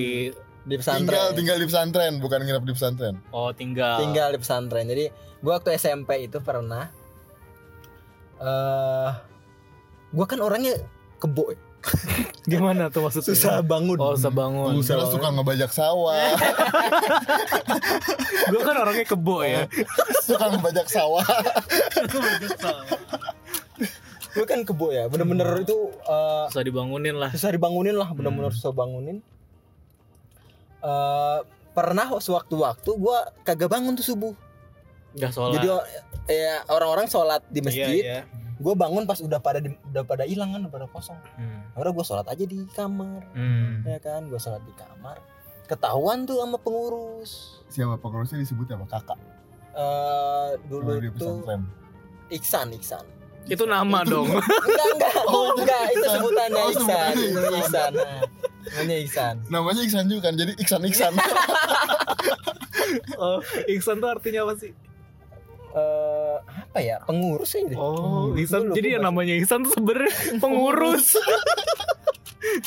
Di pesantren.
tinggal tinggal di pesantren bukan nginep di pesantren
oh tinggal.
tinggal di pesantren jadi gua waktu SMP itu pernah eh gua kan orangnya kebo ya.
Gimana tuh maksudnya?
susah bangun
Oh, susah bangun.
Gue kira suka ngebajak sawah,
Gue kan orangnya kebo ya.
suka ngebajak sawah.
Oh.
gue kan kebo ya bener-bener itu eh,
susah dibangunin lah.
susah dibangunin lah bener-bener
Hmm.
susah bangunin Eh, pernah sewaktu-waktu gue kagak bangun tuh subuh
Gak sholat.
jadi o- ya orang-orang sholat di
Iya,
masjid
iya.
gue bangun pas udah pada di- udah pada hilang kan udah pada kosong
Hmm.
akhirnya gue sholat aja di kamar
Hmm.
ya kan gue sholat di kamar ketahuan tuh sama pengurus
Siapa pengurusnya disebut ya, apa kakak?
Eh, dulu
Dulu di
tuh
pesantren.
Iksan Iksan
Itu nama dong.
enggak enggak
Oh,
enggak itu
Iksan.
sebutannya
Oh,
Iksan
sebutannya
namanya Iksan
Iksan.
Nah, namanya Iksan
Namanya Iksan juga kan, jadi Iksan Iksan.
oh, Iksan tuh artinya apa sih?
Eh, apa ya pengurus aja deh.
Oh,
Pengurus. gitu Gua
Iksan.
lupa
Jadi yang
bahasa-
namanya Iksan tuh sebenarnya pengurus.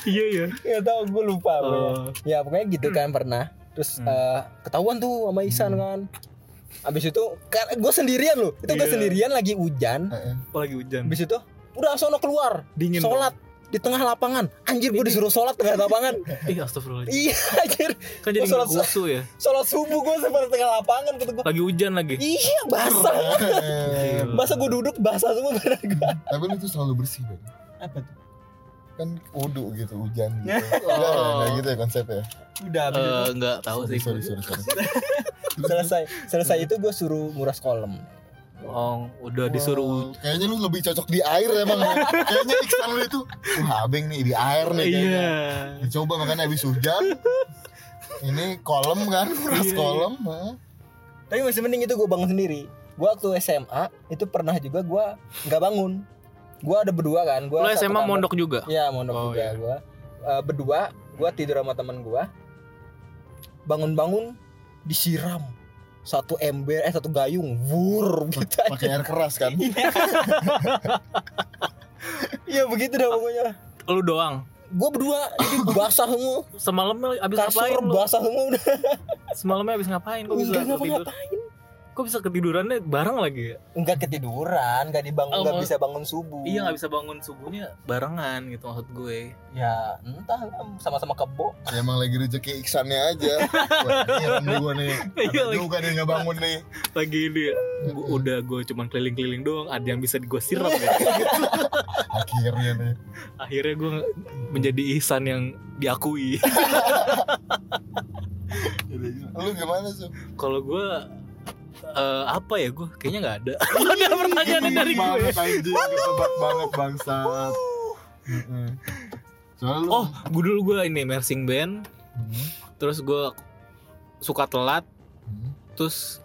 Iya ya.
nggak tahu gue lupa apa ya.
Oh.
ya pokoknya gitu kan pernah terus
Hmm.
eh, ketahuan tuh sama Iksan
Hmm.
kan abis itu kan gue sendirian loh itu gue
Iya.
sendirian lagi hujan
Eh,
Oh, lagi hujan.
abis itu udah sono keluar
Dingin. dong.
sholat di tengah lapangan anjir gue disuruh sholat tengah lapangan
Ih, astagfirullahaladzim.
iya anjir
Kan jadi
Gua sholat-
nggak kusu ya.
sholat subuh gue sampai tengah lapangan kata gue
Lagi hujan lagi.
iya basah
Iya.
Keren.
Iya. masa gue duduk basah semua badan gue
Tapi lu tuh selalu bersih, Ben.
apa tuh
Kan wudhu gitu, hujan gitu. Enggak ya,
Oh.
enggak gitu ya konsepnya.
udah abis itu
Eh, nggak tahu
Sorry,
sih.
sorry, sorry, sorry.
Eh, selesai selesai itu gue suruh nguras kolam
Oh, udah disuruh.
Wow, kayaknya lu lebih cocok di air emang. ya. kayaknya Iksan lu itu, wah abeng nih di air nih kayaknya.
Iya.
Dicoba makanya habis hujan. Ini kolam kan, ras
Iya, iya.
kolam. heeh.
tapi masih mending itu gue bangun sendiri gue waktu SMA itu pernah juga gue nggak bangun gue ada berdua kan gue
Lo SMA mondok juga.
ya mondok
Oh,
juga
iya.
gue Eh, berdua gue tidur sama teman gue bangun-bangun disiram satu ember eh satu gayung wur gitu aja.
Pakai air keras kan.
Iya begitu dah pokoknya.
Lu doang.
Gue berdua jadi basah semua,
Semalamnya abis ngapain
kasur
lu?
basah semua udah.
Semalamnya abis ngapain? Kok bisa
Enggak
ketidur?
ngapa-ngapain.
Kok bisa ketidurannya bareng lagi ya?
Enggak ketiduran, enggak dibangun,
Oh,
enggak
mau-
bisa bangun subuh.
Iya nggak bisa bangun subuhnya barengan gitu maksud gue.
Ya entah sama-sama kebo.
Ya, emang lagi rezeki Iksannya aja. Wah, heran nih gua nih.
Iya,
Ada
lagi-
juga nih nggak bangun nih.
Lagi ini ya. gua- udah gue cuman keliling-keliling doang. Ada yang bisa gue siram ya.
Akhirnya nih.
Akhirnya gue menjadi ihsan yang diakui.
Lu gimana sih?
Kalau gue eh, apa ya gue kayaknya nggak ada.
Iya,
ada pertanyaan Iya, dari ya. gue.
anjing, kebak banget bangsat. Heeh. Soalnya lu
Oh, gue dulu gue ini marching band.
Hmm.
Terus gue suka telat.
Hmm.
Terus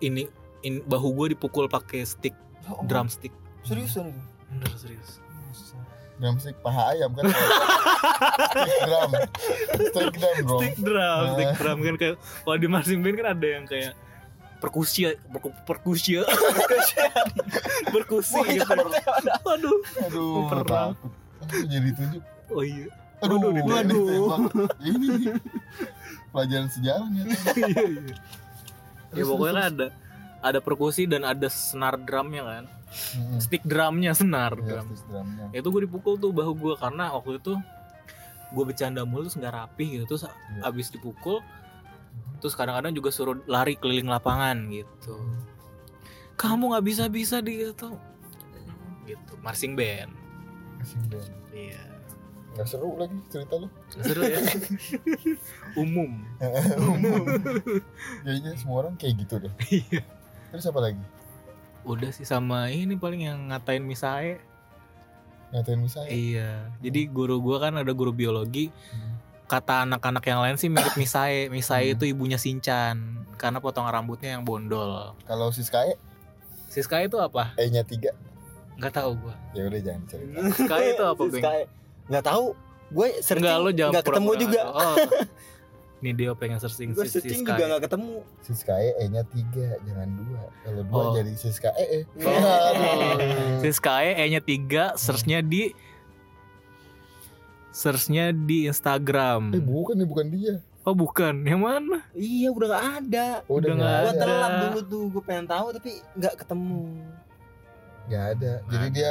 ini, ini bahu gue dipukul pakai stick drumstick.
Ya Seriusan itu.
Oh. Bener serius.
drumstick paha ayam kan stick drum stick drum bro
Stick drum,
Eh.
stick drum kan kayak kalau di marching band kan ada yang kayak perkusi perku- perkusi perkusi
Wah, itu
gitu. Waduh.
aduh
Pernah.
takut Aduh, jadi tunjuk
Oh iya.
aduh
Waduh,
ditembak,
waduh.
ditembak. ini nih, pelajaran sejarahnya
Iya, iya. Ya
Terus,
pokoknya
terus,
kan ada ada perkusi dan ada senar drumnya kan.
Mm-mm.
Stick drumnya senar
Iya,
drum.
stick drumnya
Ya Itu gue dipukul tuh bahu gue karena waktu itu gue bercanda mulu terus nggak rapi gitu terus abis dipukul terus kadang-kadang juga suruh lari keliling lapangan gitu kamu nggak bisa bisa di itu gitu marching band
Marching band.
iya
Nggak seru lagi cerita lu
seru ya umum
kayaknya semua orang kayak gitu deh
Iya.
terus apa lagi
udah sih sama ini paling yang ngatain misae
ngatain misalnya
Hmm.
iya jadi guru gua kan ada guru biologi
Hmm.
kata anak-anak yang lain sih mirip misae misae
Hmm.
itu ibunya sinchan karena potongan rambutnya yang bondol
kalau siskae
siska itu apa
e nya tiga
nggak tahu gua
ya udah jangan cerita
siska
Iya,
itu apa bang
Enggak tahu. Gue searching
Enggak lo jangan
nggak ketemu
pura-pura
juga.
tahu. Oh. Nih dia pengen searching
Gue
si- si
searching
Sky.
juga nggak ketemu.
siskae e nya tiga jangan dua kalau dua
Iya. Oh.
jadi E. siskae
Oh.
Si Sky E-nya 3, search-nya di search-nya di Instagram.
Eh bukan nih bukan dia.
Oh bukan, yang mana?
Iya udah nggak ada.
Oh,
Udah
udah
nggak
nggak
Gue
ada.
ada.
telat dulu tuh gue pengen tahu tapi nggak ketemu.
Nggak ada. Jadi
Nggak
dia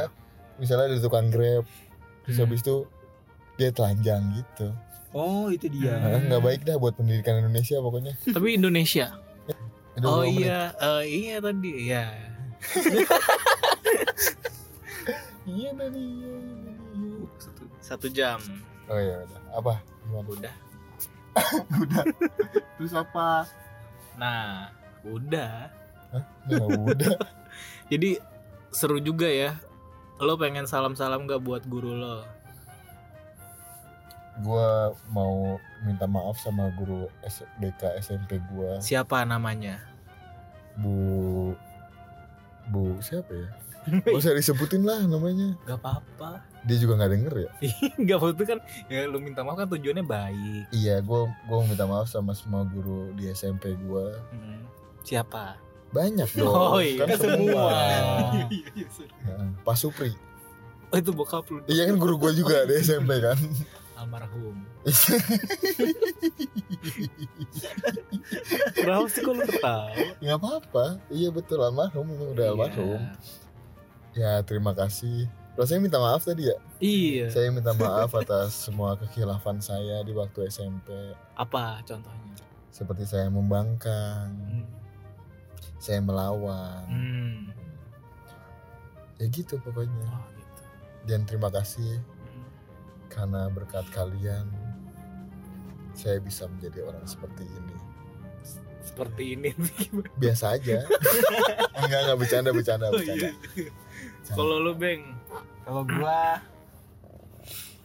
misalnya ada tukang grab, terus
Hmm.
habis itu dia telanjang gitu
Oh itu
Hmm.
dia.
Nah, nggak baik dah buat pendidikan Indonesia pokoknya
Tapi Indonesia.
Aduh,
oh
berapa menit?
iya, eh, iya tadi ya.
iya tadi iya, iya, iya.
Satu, satu jam
oh iya udah apa gimana
udah.
terus apa
Nah, udah.
nggak udah
Jadi seru juga ya. Lo pengen salam-salam gak buat guru lo?
gua mau minta maaf sama guru SDK SMP gua
Siapa namanya?
Bu Bu siapa ya? Gak usah disebutin lah namanya.
Gak apa-apa.
Dia juga nggak denger ya?
gak apa itu kan ya lo minta maaf kan tujuannya baik.
Iya, gua gua mau minta maaf sama semua guru di SMP gua.
Hmm. Siapa?
Banyak dong.
Oh, iya, kan
semua.
Iya, iya, sorry.
Heeh, Pak Supri.
oh, itu bokap lo.
Iya kan guru gua juga di SMP kan.
Almarhum. Kenapa sih kok lo tahu?
Nggak apa-apa. Iya betul almarhum memang
Iya.
udah almarhum. Ya terima kasih. Rasanya minta maaf tadi ya.
Iya.
Saya minta maaf atas semua kekhilafan saya di waktu SMP.
Apa contohnya?
Seperti saya membangkang,
Hmm.
saya melawan.
Hmm.
Ya gitu pokoknya.
Oh, gitu.
Dan terima kasih
Hmm.
karena berkat kalian saya bisa menjadi orang seperti ini.
Seperti ini.
Biasa aja. enggak enggak bercanda bercanda
Oh, iya.
bercanda. Bercanda.
Kalau lo beng,
Kalau gua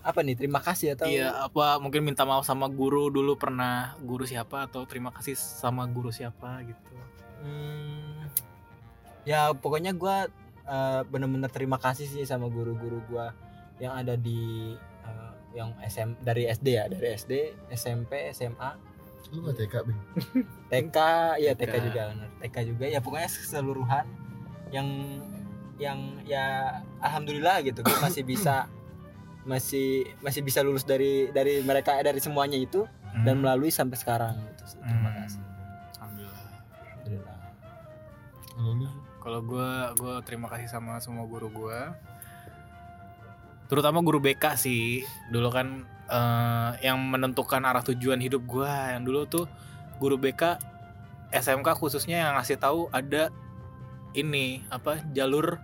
apa nih terima kasih ya, atau
iya apa mungkin minta maaf sama guru dulu pernah guru siapa atau terima kasih sama guru siapa gitu.
Hmm, ya pokoknya gua eh, bener-bener terima kasih sih sama guru-guru gua yang ada di eh, yang SM dari SD ya dari SD SMP SMA
Lu nggak TK, Bing?
TK ya TK,
TK.
juga bener TK juga ya pokoknya keseluruhan yang yang ya alhamdulillah gitu gue masih bisa masih masih bisa lulus dari dari mereka dari semuanya itu dan
Hmm.
melalui sampai sekarang gitu sih. terima
Hmm.
kasih
Alhamdulillah.
Alhamdulillah.
Kalau lu
Kalau gua gua terima kasih sama semua guru gua. Terutama guru BK sih. Dulu kan eh, yang menentukan arah tujuan hidup gua yang dulu tuh guru BK SMK khususnya yang ngasih tahu ada ini apa jalur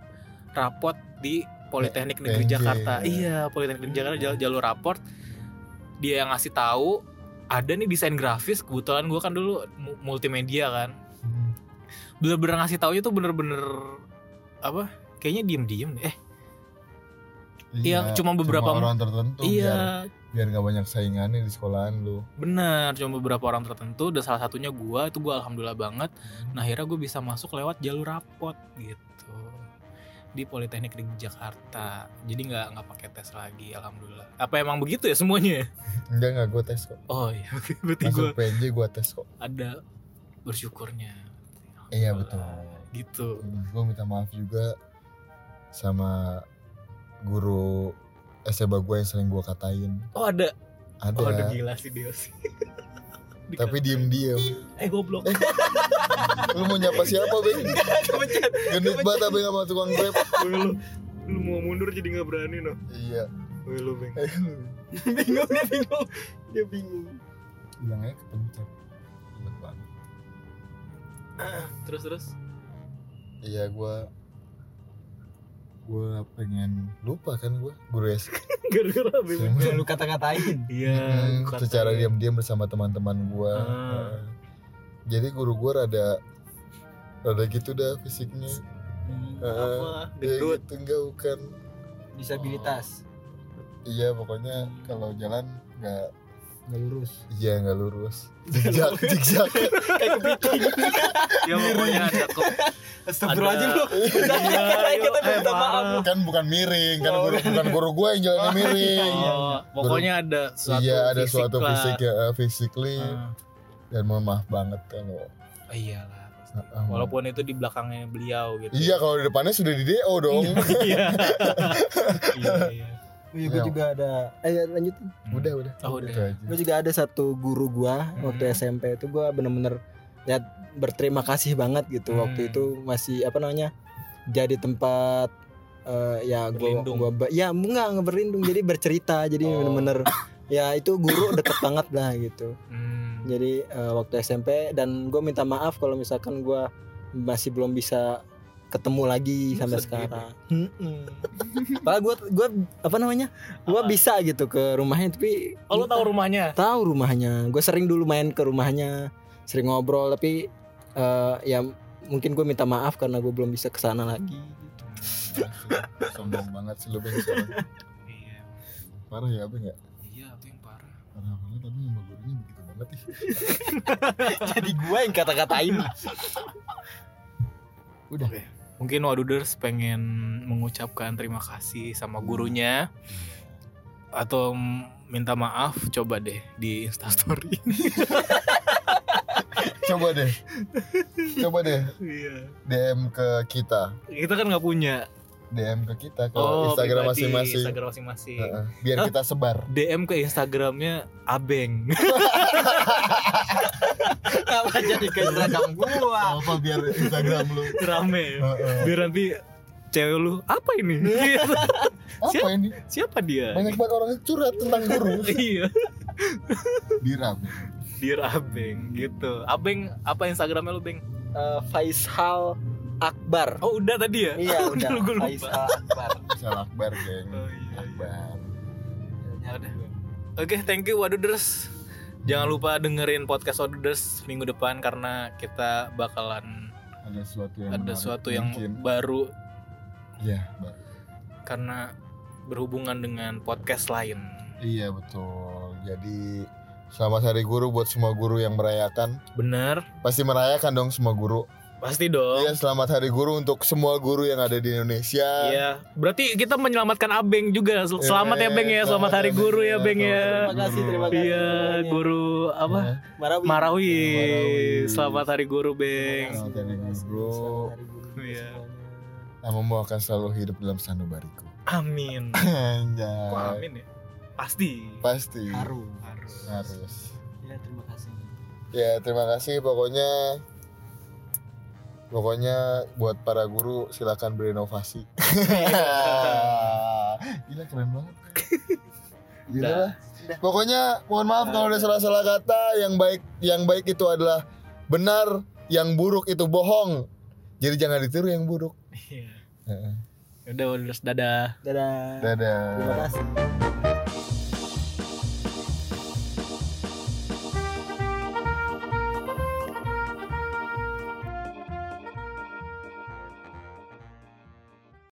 rapot di Politeknik Negeri
PNJ.
Jakarta. Iya, Politeknik Negeri Jakarta jal- jalur raport. Dia yang ngasih tahu ada nih desain grafis kebetulan gua kan dulu mu- multimedia kan
Hmm.
bener-bener ngasih taunya tuh bener-bener apa kayaknya diem-diem deh eh, Iya, cuma beberapa-
orang tertentu Oh,
iya
biar biar nggak banyak saingannya di sekolahan lu.
bener cuma beberapa orang tertentu dan salah satunya gua itu gua alhamdulillah banget nah akhirnya gue bisa masuk lewat jalur rapot gitu di Politeknik di Jakarta jadi nggak nggak pakai tes lagi alhamdulillah apa emang begitu ya semuanya
Enggak enggak gua tes kok.
oh iya oke, berarti gue
Masuk PNJ gua tes kok.
ada bersyukurnya
Iya,
Alhamdulillah.
betul.
gitu
Gua minta maaf juga sama guru SMA gua yang sering gua katain.
oh ada
Ada.
oh ada kan? gila sih dia sih
Iya. tapi diem-diem
eh goblok
lu mau nyapa siapa beng genit banget abeng sama tukang grab
Woi, lu lu mau mundur jadi nggak berani no
iya
Woi, lu beng
bingung dia bingung dia bingung
bilangnya kepencet Ribet banget.
terus terus
iya gua gua pengen lupa kan gua guru S
gara-gara apa ya?
Yang lu kata-katain
iya
Hmm,
kata-
secara diam-diam bersama teman-teman gua Nah,
Ah.
jadi guru gua rada rada gitu dah fisiknya
Hmm,
apa
Dia
gendut
gitu, enggak bukan
disabilitas
iya pokoknya kalau jalan nggak
nggak lurus
iya nggak lurus zigzag zigzag
kayak kepiting
ya pokoknya ada kok
Astagfirullahaladzim lu
Iya,
Kayak kita
yuk, eh,
minta maaf lu
parah.
kan bukan miring kan
Oh,
guru bukan guru gue yang jalannya miring
Oh, pokoknya ada suatu
iya ada
fisik
suatu
lah.
fisik ya eh, physically
Ah,
dan mohon maaf banget
oh
kalau
iyalah pasti.
Ah, ah.
walaupun itu di belakangnya beliau gitu
iya kalau di depannya sudah di do dong
iya iya iya.
Iya, gue
Iya.
juga ada. Eh, lanjut.
udah udah
Oh, udah.
Gitu aja.
Gue juga ada satu guru gua
Hmm.
waktu SMP itu gua bener-bener ya berterima kasih banget gitu
Hmm.
waktu itu masih apa namanya jadi tempat eh, ya gua
Berlindung.
gua ba- ya enggak enggak berlindung jadi bercerita jadi
Oh.
bener-bener ya itu guru deket banget lah gitu
Hmm.
jadi eh, waktu SMP dan gue minta maaf kalau misalkan gua masih belum bisa ketemu lagi
Hmm,
sampai
sedih.
sekarang. Heeh. Padahal gue gue apa namanya? Gue
Apa?
bisa gitu ke rumahnya tapi
Oh, lu tahu rumahnya?
tahu rumahnya. Gue sering dulu main ke rumahnya, sering ngobrol tapi eh, ya mungkin gue minta maaf karena gue belum bisa ke sana lagi.
Sombong banget sih lu Bang. Soalnya
Iya.
Parah ya Bang ya
Iya, itu yang parah.
Parah banget tapi sama gurunya begitu banget ih
Jadi gue yang kata-katain.
Udah
Oke. Mungkin Waduders pengen mengucapkan terima kasih sama gurunya atau m- minta maaf coba deh di instastory
Coba deh Coba deh
Iya.
DM ke kita
kita kan nggak punya
DM ke kita ke Oh, Instagram
Oh, pribadi,
masing-masing
Instagram masing-masing
Heeh, Biar kita sebar
DM ke Instagramnya Abeng
Apa jadi ke Instagram gue?
Apa biar Instagram lu
rame
Heeh.
biar nanti cewek lu apa ini Gitu.
Apa ini
siapa dia
Banyak banget orang curhat tentang guru
iya
Diram
dear Abeng gitu Abeng apa Instagramnya lu Beng
Eh, Faisal Akbar.
oh udah tadi ya
Iya udah.
gue lupa
Faisal Akbar.
Salah akbar geng
Oh, iya, iya.
Akbar
Udah. Oke, thank you Waduders. Jangan lupa dengerin podcast Waduders minggu depan karena kita bakalan
Ada sesuatu yang
ada
menarik
sesuatu yang
mungkin.
baru
Iya Bang.
karena berhubungan dengan podcast lain.
Iya betul. Jadi selamat Hari Guru buat semua guru yang merayakan.
Bener?
Pasti merayakan dong semua guru.
Pasti dong.
Iya selamat Hari Guru untuk semua guru yang ada di Indonesia. Eh,
Iya. Berarti kita menyelamatkan Abeng juga. Sel- Selamat ya Beng ya, selamat, Hari Guru ya Beng ya.
Terima kasih, terima kasih.
Iya,
Semuanya.
guru
Iya.
apa? Marawi.
Marawi.
Marawi.
Selamat Hari Iya, Guru Beng.
Selamat hari guru.
Iya.
Namamu akan selalu hidup dalam sanubariku.
Amin. Kok
Anjay.
amin ya? Iya. Pasti.
Pasti
Haru.
Harus.
harus.
Ya, terima kasih.
Ya terima kasih pokoknya Pokoknya buat para guru silakan berinovasi. Gila keren banget. Gila.
Udah.
lah. Pokoknya mohon maaf kalau ada salah-salah kata, yang baik yang baik itu adalah benar, yang buruk itu bohong. Jadi jangan ditiru yang buruk.
Iya.
Heeh.
Udah, udah, dadah.
Dadah.
Dadah.
Terima kasih.